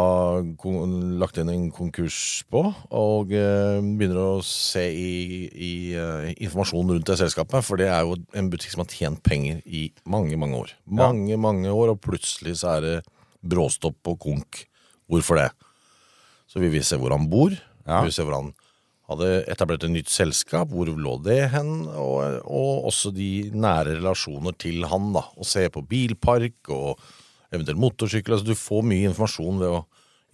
Speaker 8: kon- lagt inn en konkurs på, og eh, begynner å se i, i eh, informasjon rundt det selskapet. For det er jo en butikk som har tjent penger i mange, mange år. Mange, mange år, og plutselig så er det bråstopp og konk. Hvorfor det? Så vi vil se hvor han bor. Vi vil se hvor han hadde etablert et nytt selskap. Hvor lå det hen? Og, og også de nære relasjoner til han, da. Og se på bilpark og eventuelt motorsykkel. Altså, du får mye informasjon ved å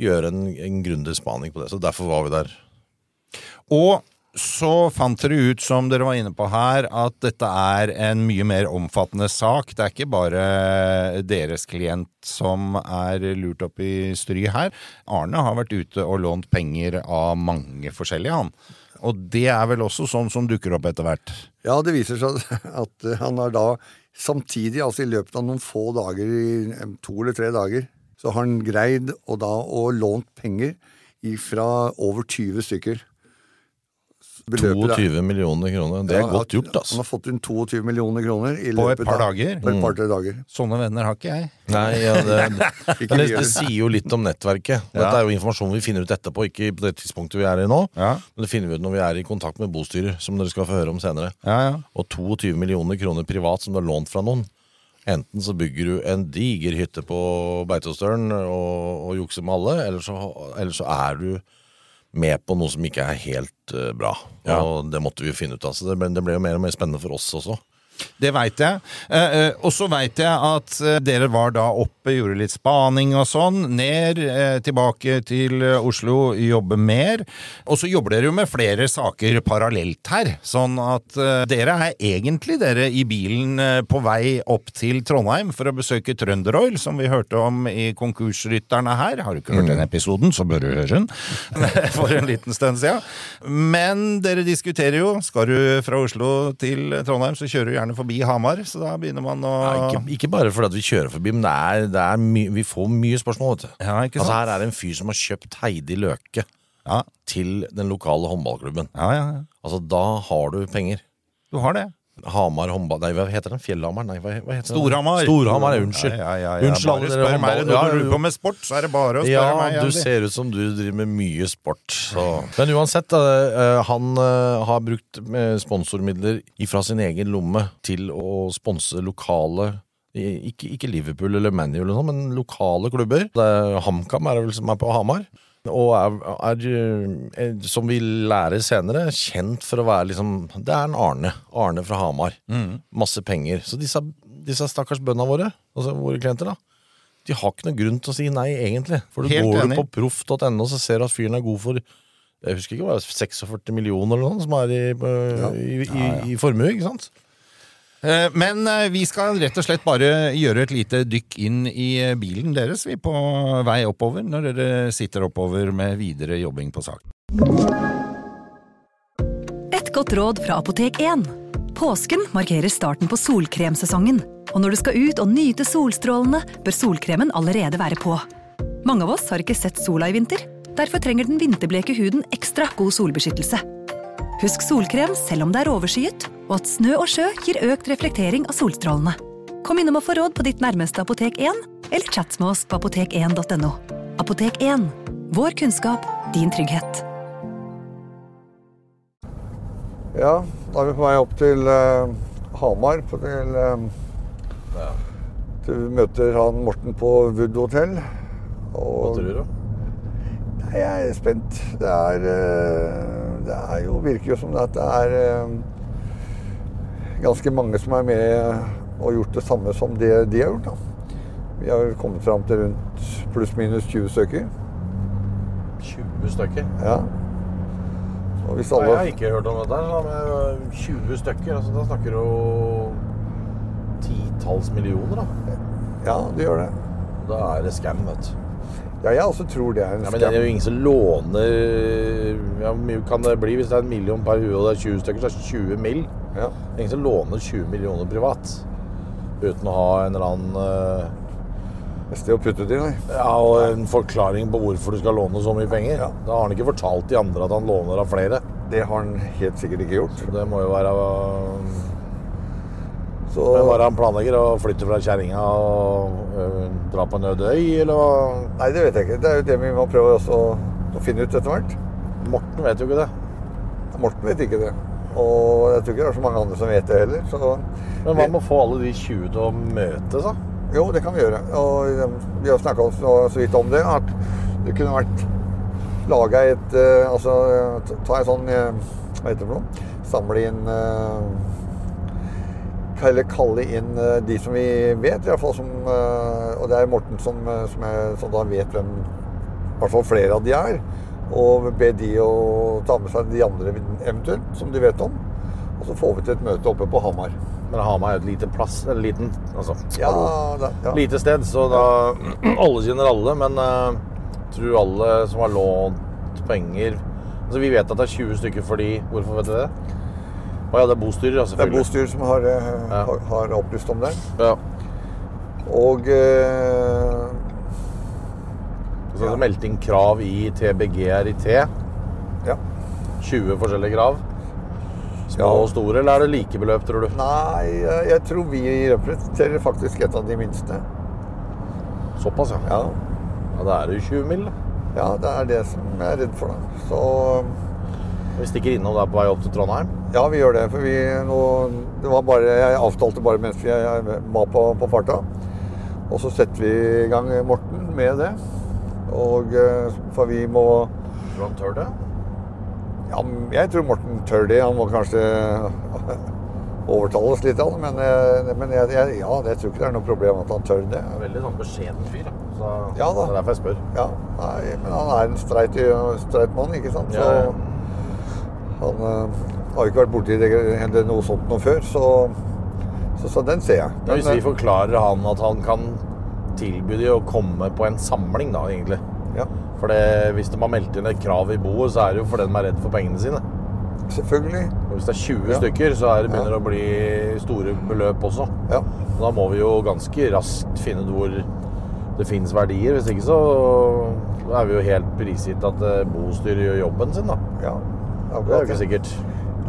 Speaker 8: gjøre en, en grundig spaning på det. Så derfor var vi der.
Speaker 6: Og så fant dere ut, som dere var inne på her, at dette er en mye mer omfattende sak. Det er ikke bare deres klient som er lurt opp i stry her. Arne har vært ute og lånt penger av mange forskjellige, han. Og det er vel også sånn som dukker opp etter hvert.
Speaker 15: Ja, det viser seg at eh, han har da samtidig, altså i løpet av noen få dager, i eh, to eller tre dager, så har han greid å da å lånt penger fra over 20 stykker. Beløpet er-
Speaker 8: 22 millioner kroner. Det er
Speaker 15: Ja,
Speaker 8: godt
Speaker 15: at-
Speaker 8: gjort, altså.
Speaker 15: Han har fått inn 22 millioner kroner i
Speaker 8: På et
Speaker 15: løpet
Speaker 8: par
Speaker 15: av-
Speaker 8: dager?
Speaker 15: På et
Speaker 8: Mm.
Speaker 15: par-tre dager.
Speaker 6: Sånne venner har ikke jeg.
Speaker 8: Nei, ja, det,
Speaker 15: Ikke
Speaker 8: men det,
Speaker 15: mye.
Speaker 8: det sier jo litt om nettverket. Dette
Speaker 6: Ja.
Speaker 8: er jo informasjon vi finner ut etterpå, ikke på det tidspunktet vi er i nå. Men det finner vi ut når vi er i kontakt med bostyrer, som dere skal få høre om senere. Og 22 millioner kroner privat som du har lånt fra noen. Enten så bygger du en diger hytte på Beitostølen og, og jukser med alle, eller så, eller så er du med på noe som ikke er helt eh, bra.
Speaker 6: Ja.
Speaker 8: Og det måtte vi jo finne ut av. Så det ble, det ble jo mer og mer spennende for oss også.
Speaker 6: Det veit jeg. Eh, eh, og så veit jeg at eh, dere var da oppe, gjorde litt spaning og sånn. Ned, eh, tilbake til eh, Oslo, jobbe mer. Og så jobber dere jo med flere saker parallelt her. Sånn at eh, dere er egentlig dere i bilen eh, på vei opp til Trondheim for å besøke Trønder Oil, som vi hørte om i Konkursrytterne her. Har du ikke hørt den
Speaker 8: Mm.
Speaker 6: episoden, så bør du høre den. for en liten stund siden. Men dere diskuterer jo. Skal du fra Oslo til Trondheim, så kjører du gjerne forbi Hamar. Så da begynner man å
Speaker 8: Ikke, ikke bare fordi at vi kjører forbi, men det er, det er my, vi får mye spørsmål. Vet du.
Speaker 6: ikke
Speaker 8: altså,
Speaker 6: sant?
Speaker 8: her er det en fyr som har kjøpt Heidi Løke til den lokale håndballklubben.
Speaker 6: Ja, ja, ja.
Speaker 8: Altså, da har du penger.
Speaker 6: Du har det.
Speaker 8: Hamar håndball Nei, hva heter den? Fjellhamar? Nei, hva, hva heter den?
Speaker 16: Storhamar.
Speaker 8: Storhamar, ja, unnslutt.
Speaker 16: Ja, ja, ja, ja. Bare spør meg når du lurer på med sport, så er det bare å spørre
Speaker 8: ja,
Speaker 16: meg,
Speaker 8: Du
Speaker 16: Andy.
Speaker 8: ser ut som du driver med mye sport. Så. Men uansett, da, eh, han eh, har brukt eh, sponsormidler fra sin egen lomme til å sponse lokale i- ikke, ikke Liverpool eller ManU, eller noe sånt, men lokale klubber. Det er HamKam er det vel som er på Hamar. Og er, er, eh, som vi lærer senere, kjent for å være liksom Det er en Arne. Arne fra Hamar.
Speaker 16: Mm.
Speaker 8: Masse penger. Så disse, disse stakkars bøndene våre, altså våre klienter, da. De har ikke noen grunn til å si nei, egentlig. For du
Speaker 16: Helt
Speaker 8: går
Speaker 16: enig.
Speaker 8: du på proff.no og ser du at fyren er god for jeg husker ikke, hva det er, 46 millioner eller noe som er i, eh, i, i, i formue, ikke sant?
Speaker 16: Eh, Men eh, vi skal rett og slett bare gjøre et lite dykk inn i eh, bilen deres, vi, på vei oppover, når dere sitter oppover med videre jobbing på saken.
Speaker 17: Et godt råd fra Apotek 1. Påsken markerer starten på solkremsesongen, og når du skal ut og nyte solstrålene, bør solkremen allerede være på. Mange av oss har ikke sett sola i vinter. Derfor trenger den vinterbleke huden ekstra god solbeskyttelse. Husk solkrem selv om det er overskyet, og at snø og sjø gir økt reflektering av solstrålene. Kom innom og få råd på ditt nærmeste Apotek 1, eller chat med oss på apotek1.no. Apotek 1 vår kunnskap, din trygghet.
Speaker 6: Ja, da er vi på vei opp til eh, Hamar. På til, eh, til vi møter han Morten på Wood hotell. Hva tror du, da? Nei, jeg er spent. Det er, eh, det er jo, virker jo som det at det er eh, ganske mange som er med og gjort det samme som det de har gjort. da. Vi har vel kommet fram til rundt pluss-minus 20 stykker.
Speaker 8: 20 stykker.
Speaker 6: Ja. Og hvis
Speaker 8: Nei,
Speaker 6: alle...
Speaker 8: jeg har ikke hørt om dette. her, men 20 stykker, altså da snakker du jo titalls millioner, da.
Speaker 6: Ja, det gjør det.
Speaker 8: Da er det scam, vet du.
Speaker 6: Ja, jeg også tror det er en
Speaker 8: Ja, men det er jo ingen som låner ja, Hvor mye kan det bli hvis det er en million per hue og det er 20 stykker, så er det 20 mill.
Speaker 6: Ja.
Speaker 8: Det er ingen som låner 20 millioner privat uten å ha en eller annen eh,
Speaker 6: Et sted å putte det i, nei.
Speaker 8: Ja, og en forklaring på hvorfor du skal låne så mye penger. Da har han ikke fortalt de andre at han låner av flere.
Speaker 6: Det har han helt sikkert ikke gjort.
Speaker 8: Så det må jo være
Speaker 6: så...
Speaker 8: Men bare han planlegger å flytte fra kjerringa og eh, dra på en øde øy, eller hva?
Speaker 6: Nei, det vet jeg ikke. Det er jo det vi må prøve også å finne ut etter hvert.
Speaker 8: Morten vet jo ikke det.
Speaker 6: Morten vet ikke det. Og jeg tror ikke det er så mange andre som vet det heller. Så...
Speaker 8: Men hva med å få alle de 20 til å møtes, da?
Speaker 6: Jo, det kan vi gjøre. Og eh, vi har snakka så så vidt om det, at det kunne vært laga et eh, Altså eh, ta- ta en sånn eh, Hva heter det for noe? Samle inn eh, Eller kalle inn eh, de som vi vet, i hvert fall som eh, Og det er Morten som, eh, som, er, som da vet hvem I hvert fall flere av de er. Og be de å ta med seg de andre eventuelt, som de vet om. Og så får vi til et møte oppe på Hamar.
Speaker 8: Men Hamar er jo et lite plass, en liten altså,
Speaker 6: Ja,
Speaker 8: hallo.
Speaker 6: da, ja.
Speaker 8: lite sted, så da alle kjenner alle. Men eh, tror alle som har lånt penger Altså, Vi vet at det er 20 stykker fordi Hvorfor vet vi det? Å ja, det er bostyrer, ja,
Speaker 6: Det er
Speaker 8: selvfølgelig.
Speaker 6: bostyret som har, eh, har, har opplyst om det.
Speaker 8: Ja.
Speaker 6: Og eh,
Speaker 8: Så det er meldt inn krav i TBGRIT.
Speaker 6: Ja.
Speaker 8: 20 forskjellige krav. Små og store, eller er det like beløp, tror du?
Speaker 6: Nei, jeg, jeg tror vi representerer faktisk et av de minste.
Speaker 8: Såpass, ja.
Speaker 6: Ja,
Speaker 8: Da er det jo 20 mill.
Speaker 6: ja det er det som jeg er redd for, da. Så
Speaker 8: Vi stikker innom der på vei opp til Trondheim?
Speaker 6: Ja, vi gjør det. For vi nå Det var bare Jeg avtalte bare mens vi jeg var på, på farta. Og så setter vi i gang Morten med det. Og eh, For vi må
Speaker 8: Tror du han tør det?
Speaker 6: Ja, jeg tror Morten tør det. Han må kanskje overtale oss litt, han, men, eh, men jeg, jeg, ja, jeg tror ikke det er noe problem at han tør det.
Speaker 8: Han er Veldig sånn beskjeden fyr. da. Så
Speaker 6: Ja
Speaker 8: Det
Speaker 6: da.
Speaker 8: er derfor jeg spør.
Speaker 6: Ja, nei, men han er en streit, streit mann, ikke sant? Så
Speaker 8: Ja, ja.
Speaker 6: han eh, har jo ikke vært borti det, eller noe sånt noe før, så, så, så den ser jeg.
Speaker 8: Men hvis
Speaker 6: Men,
Speaker 8: vi
Speaker 6: eh,
Speaker 8: forklarer han at han kan tilby de å komme på en samling, da, egentlig. For det, hvis de har meldt inn et krav i boet, så er det jo fordi de er redd for pengene sine.
Speaker 6: Selvfølgelig.
Speaker 8: Og hvis det er 20
Speaker 6: Ja.
Speaker 8: stykker, så er det begynner det å bli store beløp også. Da må vi jo ganske raskt finne ut hvor det finnes verdier. Hvis ikke så er vi jo helt prisgitt at eh, bostyret gjør jobben sin, da.
Speaker 6: Ja,
Speaker 8: det er
Speaker 6: akkurat
Speaker 8: jo ikke sikkert.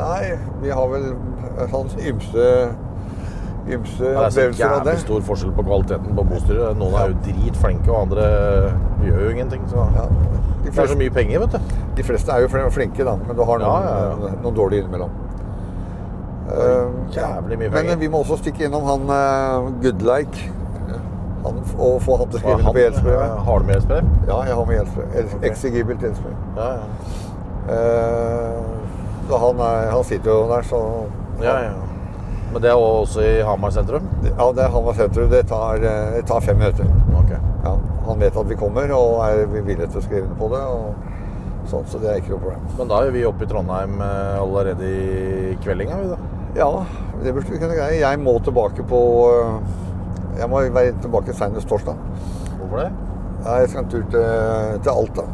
Speaker 6: Nei, vi har vel sånn ymse ymse
Speaker 8: Ja, det er så
Speaker 6: opplevelser av det.
Speaker 8: jævlig stor forskjell på kvaliteten på bostyret. Noen er jo dritflinke, og andre eh, gjør jo ingenting. Så.
Speaker 6: De
Speaker 8: Det er så mye penger, vet du.
Speaker 6: De fleste er jo fl- flinke, da, men du har noen,
Speaker 8: Ja, ja,
Speaker 6: noen dårlige innimellom. Eh,
Speaker 8: Jævlig mye
Speaker 6: men
Speaker 8: penger.
Speaker 6: eh, vi må også stikke innom han uh, Goodlike. Han, f- og få han til å
Speaker 8: Hva er
Speaker 6: skrive
Speaker 8: han?
Speaker 6: det på gjeldsbrevet.
Speaker 8: Ja, har du med gjeldsbrev?
Speaker 6: Ja, jeg har med gjeldsbrev. El- Eksigibelt gjeldsbrev. Eh, så han, er, han sitter jo der, så
Speaker 8: Ja, ja. Men det er også i Hamar sentrum?
Speaker 6: Ja, det er Hamar sentrum. Det tar, eh, det tar fem minutter. Ja, han vet at vi kommer og er villig til å skrive under på det. Og sånn, så det er ikke noe problem.
Speaker 8: Men da er vi oppe i Trondheim eh, allerede i kveldinga, vi da.
Speaker 6: Ja, det burde vi kunne greie. Jeg må tilbake på øh, Jeg må være tilbake senest torsdag.
Speaker 8: Hvorfor det?
Speaker 6: Ja, Jeg skal en tur til, til Alta.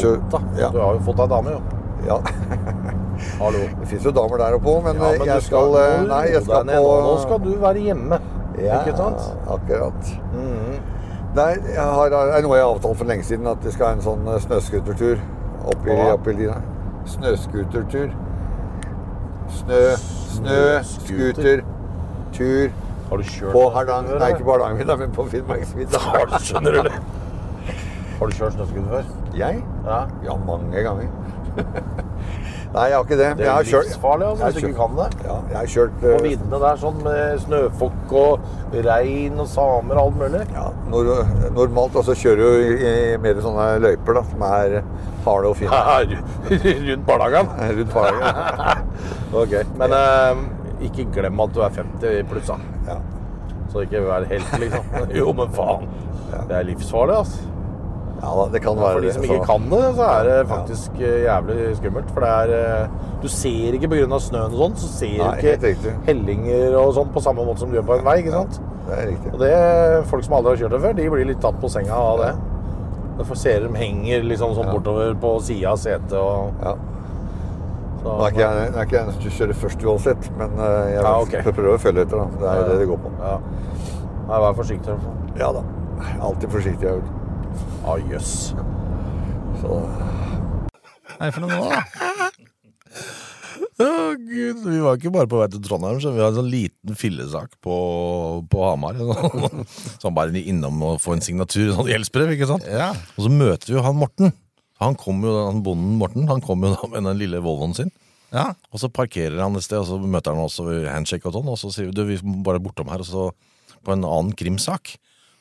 Speaker 8: Alta? Du har jo fått deg dame, jo.
Speaker 6: Ja.
Speaker 8: Hallo.
Speaker 6: Det fins jo damer der oppe òg, men,
Speaker 8: Ja, men du
Speaker 6: jeg skal,
Speaker 8: skal-
Speaker 6: øh, Nei,
Speaker 8: Hold
Speaker 6: jeg
Speaker 8: deg
Speaker 6: skal
Speaker 8: ned
Speaker 6: på
Speaker 8: nå. Nå skal du være hjemme.
Speaker 6: ja,
Speaker 8: Ikke sant? Mhm.
Speaker 6: Akkurat. Nei, jeg har, det er noe jeg har avtalt for lenge siden, at vi skal ha en sånn øh, snøskutertur opp i,
Speaker 8: Hva?
Speaker 6: opp i Lina. Snøskutertur. Snø, snø, skuter, tur.
Speaker 8: Har du kjørt
Speaker 6: På
Speaker 8: snøskuter
Speaker 6: Hardanger,
Speaker 8: før,
Speaker 6: nei
Speaker 8: eller?
Speaker 6: ikke på Hardangervidda, men på Finnmarksvidda.
Speaker 8: Har du- skjønner du det? Har du kjørt snøskuter før?
Speaker 6: Jeg?
Speaker 8: Ja.
Speaker 6: ja, mange ganger. Nei, jeg har ikke det. men
Speaker 8: Det
Speaker 6: jeg
Speaker 8: er
Speaker 6: har
Speaker 8: jo
Speaker 6: kjørt-
Speaker 8: livsfarlig altså,
Speaker 6: jeg har
Speaker 8: hvis du ikke
Speaker 6: kjørt-
Speaker 8: kan det.
Speaker 6: Ja, jeg har kjørt
Speaker 8: På
Speaker 6: eh,
Speaker 8: viddene der sånn med snøfokk og regn og samer og alt mulig.
Speaker 6: nor normalt, altså kjører jo i, i mer sånne løyper da, som er harde og fine.
Speaker 8: Rundt barnehagen.
Speaker 6: Rundt barnehagen.
Speaker 8: ok. Men eh, ikke glem at du er 50 pluss, da. Så ikke vær helt, liksom. Jo, men faen. Det er livsfarlig, altså.
Speaker 6: Ja da, det kan være
Speaker 8: For de
Speaker 6: det,
Speaker 8: som
Speaker 6: så-
Speaker 8: ikke kan det, så er det faktisk eh, jævlig skummelt. For det er eh, Du ser ikke pga. snøen og sånn, så ser
Speaker 6: Nei,
Speaker 8: du
Speaker 6: helt
Speaker 8: ikke
Speaker 6: riktig.
Speaker 8: hellinger og sånn på samme måte som du gjør på en vei, ikke sant?
Speaker 6: Det er riktig.
Speaker 8: Og det, folk som aldri har kjørt det før, de blir litt tatt på senga av det. Derfor ser de henger liksom sånn bortover på sida av setet og
Speaker 6: Nå
Speaker 8: så,
Speaker 6: er ikke jeg, nå er ikke jeg den som kjører først uansett, men eh, jeg
Speaker 8: Ja, ok.
Speaker 6: prø- prøver å følge etter. da. Det er
Speaker 8: Ja, ja.
Speaker 6: det det går på.
Speaker 8: Ja. Nei, vær forsiktig. i hvert fall.
Speaker 6: Ja da. Alltid forsiktig. jeg vet.
Speaker 8: Ah, jøss.
Speaker 6: Så
Speaker 8: Hva er det for noe nå, da? Å,
Speaker 2: gud. Vi var ikke bare på vei til Trondheim, så vi hadde en sånn liten fillesak på, på Hamar. Så han bare innom og få en signatur, sånn gjeldsbrev, ikke sant? Og så møter vi jo han Morten. Han kom jo, han bonden Morten, han kom jo da med den lille Volvoen sin. Og så parkerer han et sted, og så møter han oss og vi handshake og sånn, og så sier vi, du, vi må bare bortom her, og så på en annen krimsak,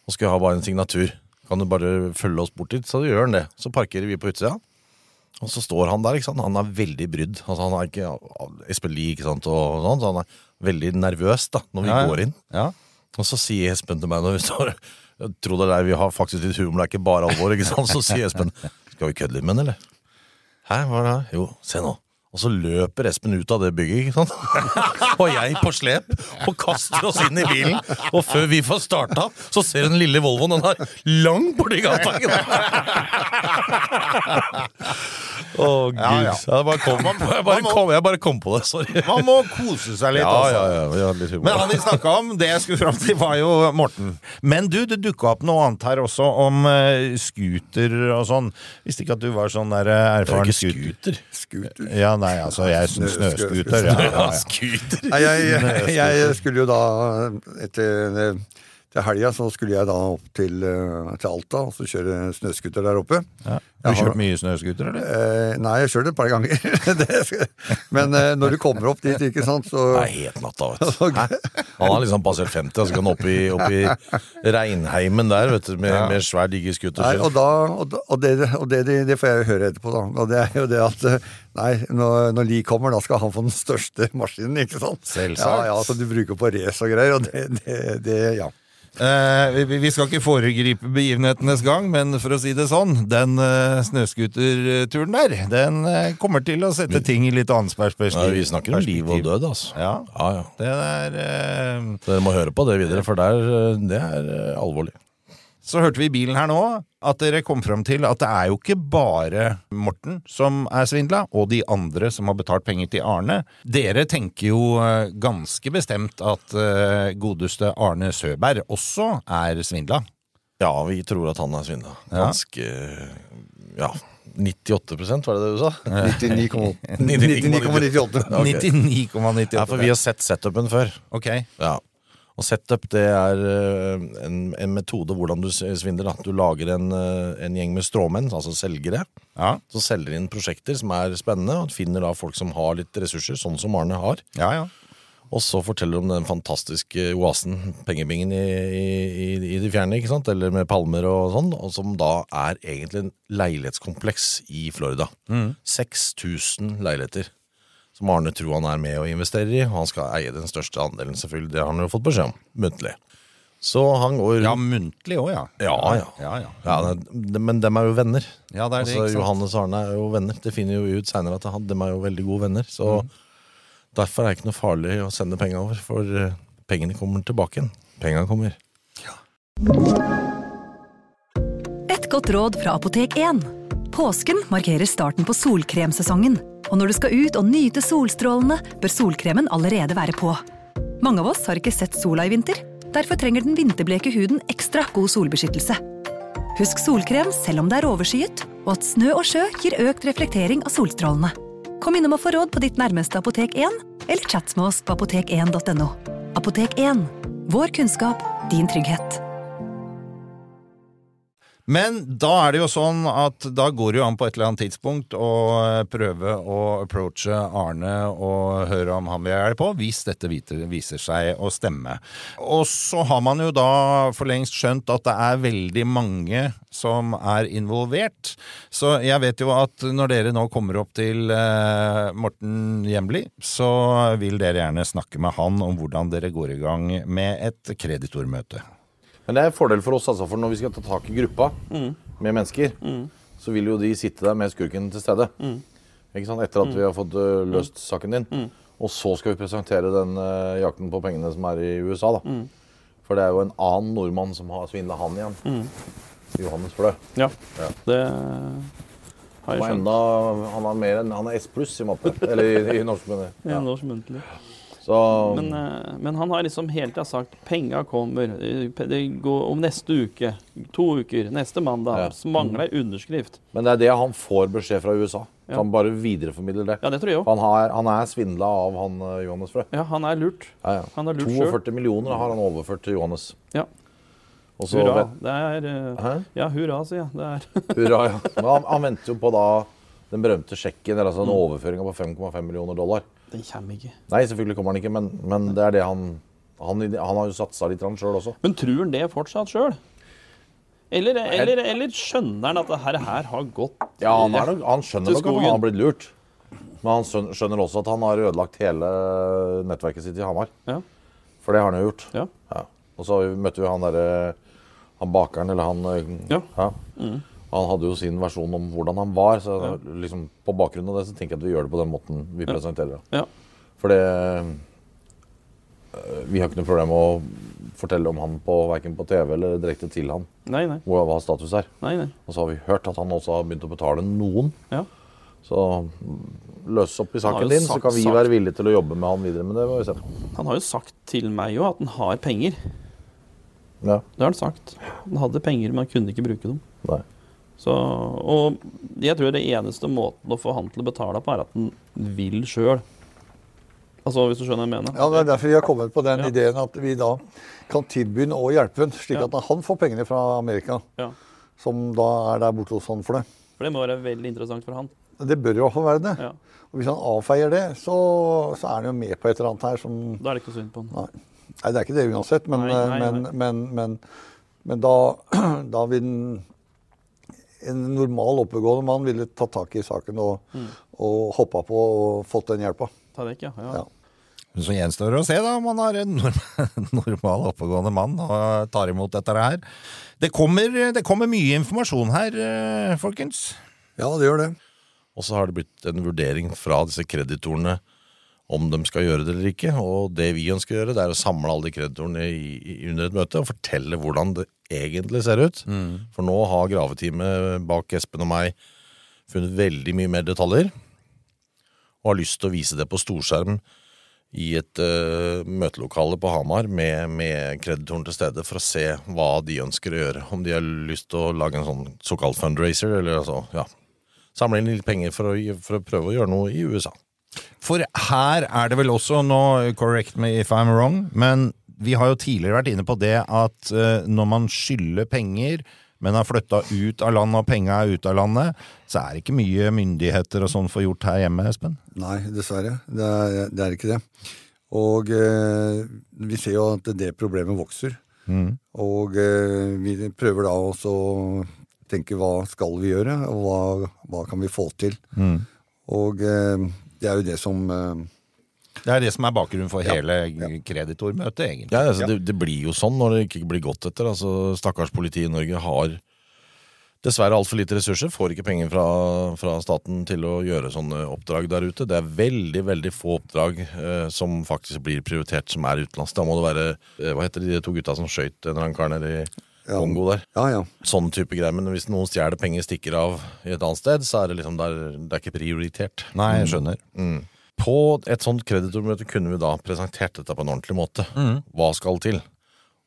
Speaker 2: og skal ha bare en signatur. Kan du bare følge oss bort dit? Så gjør han det. Så parkerer vi på utsida. Og så står han der, ikke sant? han er veldig brydd. Altså, han er ikke Espen Lie, ikke sant, og sånn, så han er veldig nervøs da, når vi
Speaker 5: Ja, ja.
Speaker 2: går inn. Og så sier Espen til meg når vi står Jeg tror det er der vi har faktisk litt humor, det er ikke bare alvor, ikke sant? Så sier Espen Skal vi kødde litt med den, eller? Hæ, hva er det her? Jo, se nå. Og så løper Espen ut av det bygget, ikke sant? Og jeg på slep, og kaster oss inn i bilen. Og før vi får starta, så ser den lille Volvoen, den er lang borti gata. ikke sant? Å, gud.
Speaker 8: Ja, ja.
Speaker 2: Jeg, bare kom,
Speaker 8: Man-
Speaker 2: jeg, bare
Speaker 8: man må-
Speaker 2: kom, jeg bare kom på det, sorry.
Speaker 5: Man må kose seg litt,
Speaker 2: ja,
Speaker 5: altså.
Speaker 2: Ja, ja, vi hadde litt humor.
Speaker 5: Men han vi snakka om, det jeg skulle fram til, var jo Morten. Men du, det dukka opp noe annet her også, om eh, scooter og sånn. Visste ikke at du var sånn der eh, erfaren
Speaker 2: Det er ikke
Speaker 5: scooter. Ja, nei, altså, jeg syns snøscooter. Ja, ja, ja.
Speaker 6: Nei, jeg, jeg skulle jo da etter til helga så skulle jeg da opp til, eh, til Alta og så kjøre snøskuter der oppe.
Speaker 5: Ja.
Speaker 6: Jeg
Speaker 5: Du har
Speaker 6: har-
Speaker 5: kjørt mye snøscooter, eller?
Speaker 6: Eh, nei, jeg kjører det et par ganger. det, skal- men eh, når du kommer opp dit, ikke sant, så
Speaker 2: Det er helt natta, vet du. Hæ? Han har liksom passert 50, og så kan han opp i, opp i Reinheimen der, vet du, med, med svær diggeskuter.
Speaker 6: Nei, og da, og, da- og, det, og det, det, det får jeg jo høre etterpå, da. Og det er jo det at eh, Nei, når, når Lie kommer, da skal han få den største maskinen, ikke sant?
Speaker 5: Selvsagt.
Speaker 6: Ja, ja, Som du bruker på race og greier. Og det, det, det ja.
Speaker 5: Eh, vi- vi, vi skal ikke foregripe begivenhetenes gang, men for å si det sånn, den eh, snøskuterturen der, den eh, kommer til å sette ting i litt annet perspektiv.
Speaker 2: Ja, vi snakker om liv og død, altså.
Speaker 5: Ja.
Speaker 2: Ja, ja.
Speaker 5: Det er eh,
Speaker 2: Dere må høre på det videre, for det er, eh, det er eh, alvorlig.
Speaker 5: Så hørte vi i bilen her nå at dere kom fram til at det er jo ikke bare Morten som er svindla, og de andre som har betalt penger til Arne. Dere tenker jo eh, ganske bestemt at eh, godeste Arne Søberg også er svindla.
Speaker 2: Ja, vi tror at han er svindla.
Speaker 5: Ja.
Speaker 2: Ganske Ja.
Speaker 18: 98 var det det du sa?
Speaker 7: 99,98.
Speaker 18: 99,98. Ja, for vi har sett setupen før.
Speaker 6: Ok.
Speaker 18: Ja. Og setup det er eh, en, en metode hvordan du s- svindler. Da. Du lager en, eh, en gjeng med stråmenn, altså selgere. Så selger de inn prosjekter som er spennende, og finner da folk som har litt ressurser, sånn som Arne har. Og så forteller de om den fantastiske oasen, pengebingen i, i, i, i det fjerne, ikke sant? eller med palmer og sånn, og som da er egentlig en leilighetskompleks i Florida.
Speaker 6: Mm.
Speaker 18: 6000 leiligheter som Arne tror han er med og investerer i. Og han skal eie den største andelen, selvfølgelig. Det har han jo fått beskjed om, muntlig. Så han går
Speaker 6: Ja, muntlig òg, ja.
Speaker 18: Ja, ja.
Speaker 6: Ja, ja.
Speaker 18: det- men dem er jo venner.
Speaker 6: Ja, det er det,
Speaker 18: altså,
Speaker 6: ikke sant?
Speaker 18: Johannes og Arne er jo venner. Det finner jo ut seinere at han, dem er jo veldig gode venner. Så
Speaker 6: Mm.
Speaker 18: derfor er det ikke noe farlig å sende penga over, for eh, pengene kommer tilbake igjen. Penga kommer.
Speaker 17: Et godt råd fra Apotek 1. Påsken markerer starten på solkremsesongen, og når du skal ut og nyte solstrålene, bør solkremen allerede være på. Mange av oss har ikke sett sola i vinter. Derfor trenger den vinterbleke huden ekstra god solbeskyttelse. Husk solkrem selv om det er overskyet, og at snø og sjø gir økt reflektering av solstrålene. Kom innom og få råd på ditt nærmeste Apotek 1, eller chat med oss på apotek1.no. Apotek 1 vår kunnskap, din trygghet.
Speaker 6: Men da er det jo sånn at da går det jo an på et eller annet tidspunkt å eh, prøve å approache Arne og høre om han vil ha hjelp på, hvis dette viter- viser seg å stemme. Og så har man jo da for lengst skjønt at det er veldig mange som er involvert. Så jeg vet jo at når dere nå kommer opp til eh, Morten Hjemli, så vil dere gjerne snakke med han om hvordan dere går i gang med et kreditormøte.
Speaker 8: Men det er en fordel for oss, altså, for når vi skal ta tak i gruppa med mennesker, så vil jo de sitte der med skurken til stede. Ikke sant? Etter at vi har fått ø, løst saken din. Og så skal vi presentere den ø, jakten på pengene som er i USA, da. For det er jo en annen nordmann som har svindla han igjen. Johannes Flø.
Speaker 5: Ja, det har
Speaker 8: Og
Speaker 5: jeg skjønt.
Speaker 8: enda, han er mer enn Han er S pluss i matte. Eller i, i norsk, mener jeg.
Speaker 5: Ja, norsk muntlig.
Speaker 8: Så-
Speaker 5: men, eh, men han har liksom hele tida sagt penga kommer eh, pe- det går om neste uke. To uker. Neste mandag. Så mangler jeg underskrift.
Speaker 8: Men det er det han får beskjed fra USA.
Speaker 5: Ja.
Speaker 8: Så han bare videreformidler det.
Speaker 5: Ja, det tror jeg også.
Speaker 8: Han, har, han er svindla av han eh, Johannes Frø.
Speaker 5: Ja, han er lurt.
Speaker 8: Ja, ja.
Speaker 5: Han er lurt
Speaker 8: 42 millioner har han overført til Johannes.
Speaker 5: Ja.
Speaker 8: Og så
Speaker 5: Hurra.
Speaker 8: vet-
Speaker 5: Det er eh, Ja, hurra, sier jeg. Det er
Speaker 8: Hurra, ja. Men han, han venter jo på da den berømte sjekken, eller altså den overføringa på 5,5 millioner dollar.
Speaker 5: Den kommer ikke.
Speaker 8: Nei, selvfølgelig kommer han ikke, men, men det er det han Han, han har jo satsa litt sjøl også.
Speaker 5: Men tror han det fortsatt sjøl? Eller,
Speaker 8: Nei.
Speaker 5: eller, eller skjønner han at det her, her har gått
Speaker 8: Ja, han, er nok, han skjønner
Speaker 5: til
Speaker 8: nok at han
Speaker 5: skogen?
Speaker 8: har blitt lurt. Men han skjøn- skjønner også at han har ødelagt hele nettverket sitt i Hamar. For det har han jo gjort. Ja. Og så møtte vi han derre Han bakeren, eller han eh, ja.
Speaker 5: Mm.
Speaker 8: Han hadde jo sin versjon om hvordan han var, så liksom, på bakgrunn av det så tenker jeg at vi gjør det på den måten vi
Speaker 5: Ja.
Speaker 8: presenterer det.
Speaker 5: Ja.
Speaker 8: For det øh, Vi har ikke noe problem med å fortelle om han på verken på TV eller direkte til han.
Speaker 5: Nei, nei.
Speaker 8: Hvor, hva status er.
Speaker 5: Nei, nei.
Speaker 8: Og så har vi hørt at han også har begynt å betale noen.
Speaker 5: Ja.
Speaker 8: Så mm, løs opp i
Speaker 5: Han har jo
Speaker 8: saken din, så
Speaker 5: sagt-
Speaker 8: kan vi
Speaker 5: sagt-
Speaker 8: være villige til å jobbe med han videre. Men det må vi se på.
Speaker 5: Han har jo sagt til meg jo at han har penger.
Speaker 8: Ja.
Speaker 5: Det har han sagt. Han hadde penger, men han kunne ikke bruke dem.
Speaker 8: Nei.
Speaker 5: Så, og jeg tror det eneste måten å få han til å betale på, er at han vil sjøl. Altså, hvis du skjønner hva jeg mener?
Speaker 15: Ja, Det er derfor vi har kommet på den ideen at vi da kan tilby han og hjelpe han, slik at han får pengene fra Amerika,
Speaker 5: Ja.
Speaker 15: som da er der borte hos han for det.
Speaker 5: For det må være veldig interessant for han.
Speaker 15: Det bør jo i hvert fall være det. Og hvis han avfeier det, så, så er han jo med på et eller annet her som
Speaker 5: Da er det ikke noe synd på han.
Speaker 15: Nei. Nei, det er ikke det uansett, men,
Speaker 5: Nei, nei,
Speaker 15: men,
Speaker 5: nei.
Speaker 15: men, men, men da, da vil en, en normal oppegående mann ville tatt tak i saken og,
Speaker 5: Mm.
Speaker 15: og hoppa på og fått den hjelpa.
Speaker 5: Ta det ikke, ja. ja.
Speaker 6: Så gjenstår det å se da om han er en norm- normal, oppegående mann og tar imot dette her. Det kommer, det kommer mye informasjon her, eh, folkens.
Speaker 15: Ja, det gjør det.
Speaker 18: Og så har det blitt en vurdering fra disse kreditorene om de skal gjøre det eller ikke. Og det vi ønsker å gjøre, det er å samle alle de kreditorene i, i, under et møte og fortelle hvordan det egentlig ser ut. For nå har graveteamet bak Espen og meg funnet veldig mye mer detaljer. Og har lyst til å vise det på storskjerm i et eh, møtelokale på Hamar med, med kreditoren til stede for å se hva de ønsker å gjøre. Om de har lyst til å lage en sånn såkalt fundraiser, eller altså, ja,
Speaker 6: samle inn litt penger for å, gi- for å prøve å gjøre noe i USA.
Speaker 8: For her er det vel også, nå correct me if I'm wrong, men vi har jo tidligere vært inne på det at eh, når man skylder penger, men har flytta ut av landet, og penga er ute av landet, så er det ikke mye myndigheter og sånn får gjort her hjemme, Espen.
Speaker 19: Nei, dessverre. Det er, det er ikke det. Og eh, vi ser jo at det problemet vokser.
Speaker 8: Mm.
Speaker 19: Og eh, vi prøver da også å tenke hva skal vi gjøre, og hva, hva kan vi få til.
Speaker 8: Mm.
Speaker 19: Og eh, det er jo det som eh,
Speaker 8: Det er det som er bakgrunnen for hele kreditormøtet, egentlig.
Speaker 6: Ja, altså, det, det blir jo sånn når det ikke blir gått etter. Altså, stakkars politi i Norge har dessverre altfor lite ressurser. Får ikke penger fra, fra staten til å gjøre sånne oppdrag der ute. Det er veldig veldig få oppdrag eh, som faktisk blir prioritert, som er utenlands. Da må det være eh, Hva heter de to gutta som skøyt en eller annen kar nede i Kongo der? Sånn type greier. Men hvis noen stjeler penger, stikker av i et annet sted, så er det liksom der, det er ikke prioritert.
Speaker 8: Nei, jeg skjønner.
Speaker 6: Mm. På et sånt kreditormøte kunne vi da presentert dette på en ordentlig måte.
Speaker 8: Mm.
Speaker 6: Hva skal til?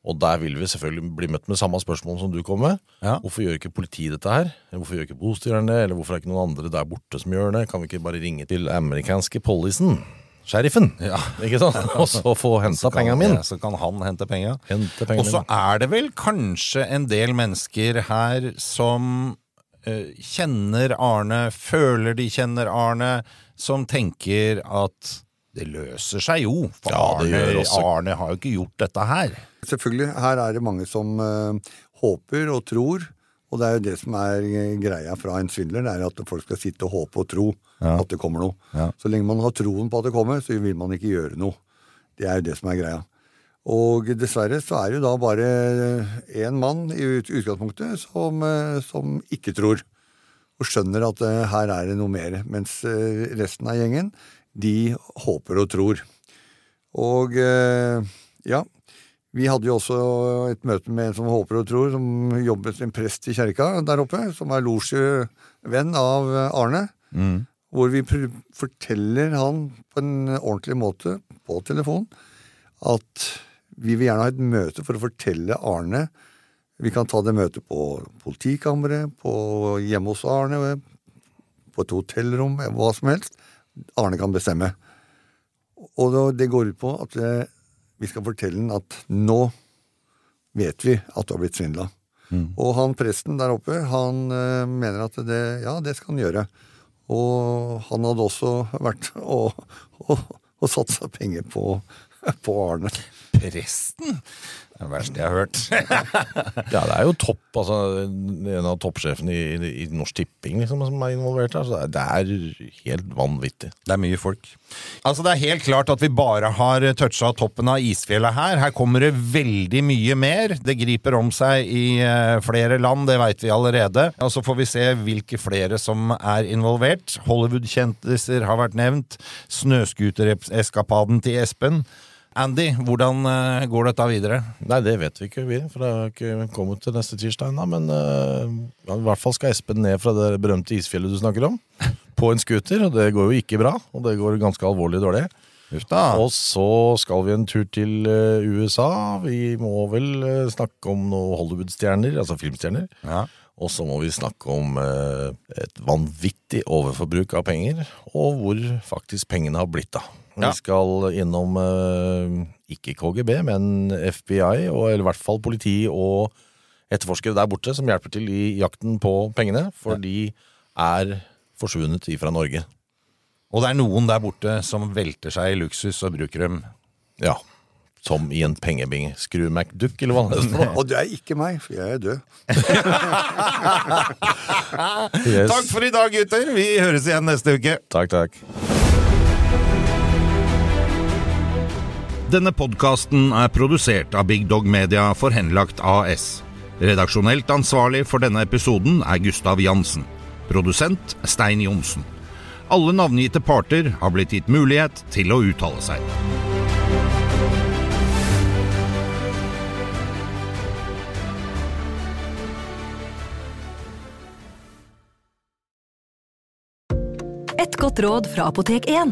Speaker 6: Og der vil vi selvfølgelig bli møtt med samme spørsmål som du kom med. Hvorfor gjør ikke politiet dette her? Hvorfor gjør ikke bostyreren det? Eller hvorfor er det ikke noen andre der borte som gjør det? Kan vi ikke bare ringe til amerikanske policen? Sheriffen! Ikke sant? Og så få henta
Speaker 8: Så kan-
Speaker 6: penga mine.
Speaker 8: ja, Så kan han hente penga.
Speaker 6: Hente
Speaker 8: Og
Speaker 6: penga
Speaker 8: så
Speaker 6: mine.
Speaker 8: er det vel kanskje en del mennesker her som eh, kjenner Arne, føler de kjenner Arne, som tenker at det løser seg jo, for
Speaker 19: det gjør
Speaker 8: Arne,
Speaker 19: også.
Speaker 8: Arne har jo ikke gjort dette her.
Speaker 19: Selvfølgelig. Her er det mange som eh, håper og tror. Og det er jo det som er eh, greia fra en svindler, det er at folk skal sitte og håpe og tro
Speaker 8: Ja.
Speaker 19: at det kommer noe. Så lenge man har troen på at det kommer, så vil man ikke gjøre noe. Det er jo det som er greia. Og dessverre så er det jo da bare én mann i ut- utgangspunktet som, eh, som ikke tror. Og skjønner at eh, her er det noe mer. Mens eh, resten av gjengen, de håper og tror. Og eh, ja, vi hadde jo også et møte med en som håper og tror, som jobbet som prest i kjerka der oppe, som er losjevenn av Arne.
Speaker 8: Mm.
Speaker 19: Hvor vi pr- forteller han på en ordentlig måte, på telefon, at vi vil gjerne ha et møte for å fortelle Arne Vi kan ta det møtet på politikammeret, på hjemme hos Arne, på et hotellrom, hva som helst. Arne kan bestemme. Og da- det går ut på at eh, vi skal fortelle den at nå vet vi at du har blitt svindla. Og han presten der oppe, han eh, mener at det, ja, det skal han gjøre. Og han hadde også vært og, og, og satsa penger på, på Arne.
Speaker 8: Presten? Det er det verste jeg har hørt.
Speaker 6: Ja, det er jo topp, altså en av toppsjefene i, i Norsk Tipping liksom, som er involvert her. Så det er det er helt vanvittig.
Speaker 8: Det er mye folk. Altså Det er helt klart at vi bare har toucha toppen av isfjellet her. Her kommer det veldig mye mer. Det griper om seg i eh, flere land, det veit vi allerede. Og Så får vi se hvilke flere som er involvert. Hollywood-kjendiser har vært nevnt. Snøscootereskapaden til Espen. Andy, hvordan eh, går dette videre?
Speaker 6: Nei, det vet vi ikke, vi. For det har ikke kommet til neste tirsdag ennå. Men eh, ja, i hvert fall skal Espen ned fra det berømte isfjellet du snakker om. På en scooter, og det går jo ikke bra. Og det går ganske alvorlig dårlig. Og så skal vi en tur til eh, USA. Vi må vel eh, snakke om noen Hollywood-stjerner, altså filmstjerner. Og så må vi snakke om eh, et vanvittig overforbruk av penger, og hvor faktisk pengene har blitt av.
Speaker 8: Ja.
Speaker 6: Vi skal innom eh, ikke KGB, men FBI, og, eller i hvert fall politi og etterforskere der borte som hjelper til i jakten på pengene, for de er forsvunnet ifra Norge.
Speaker 8: Og det er noen der borte som velter seg i luksus og bruker dem.
Speaker 6: Ja, som i en pengebinge. Skru MacDuck, eller hva det heter.
Speaker 19: Og det er ikke meg, for jeg er død.
Speaker 6: Yes.
Speaker 8: Takk for i dag, gutter! Vi høres igjen neste uke.
Speaker 6: Takk, takk.
Speaker 8: Denne podkasten er produsert av Big Dog Media for Henlagt AS. Redaksjonelt ansvarlig for denne episoden er Gustav Jansen. Produsent Stein Johnsen. Alle navngitte parter har blitt gitt mulighet til å uttale seg.
Speaker 17: Et godt råd fra Apotek 1.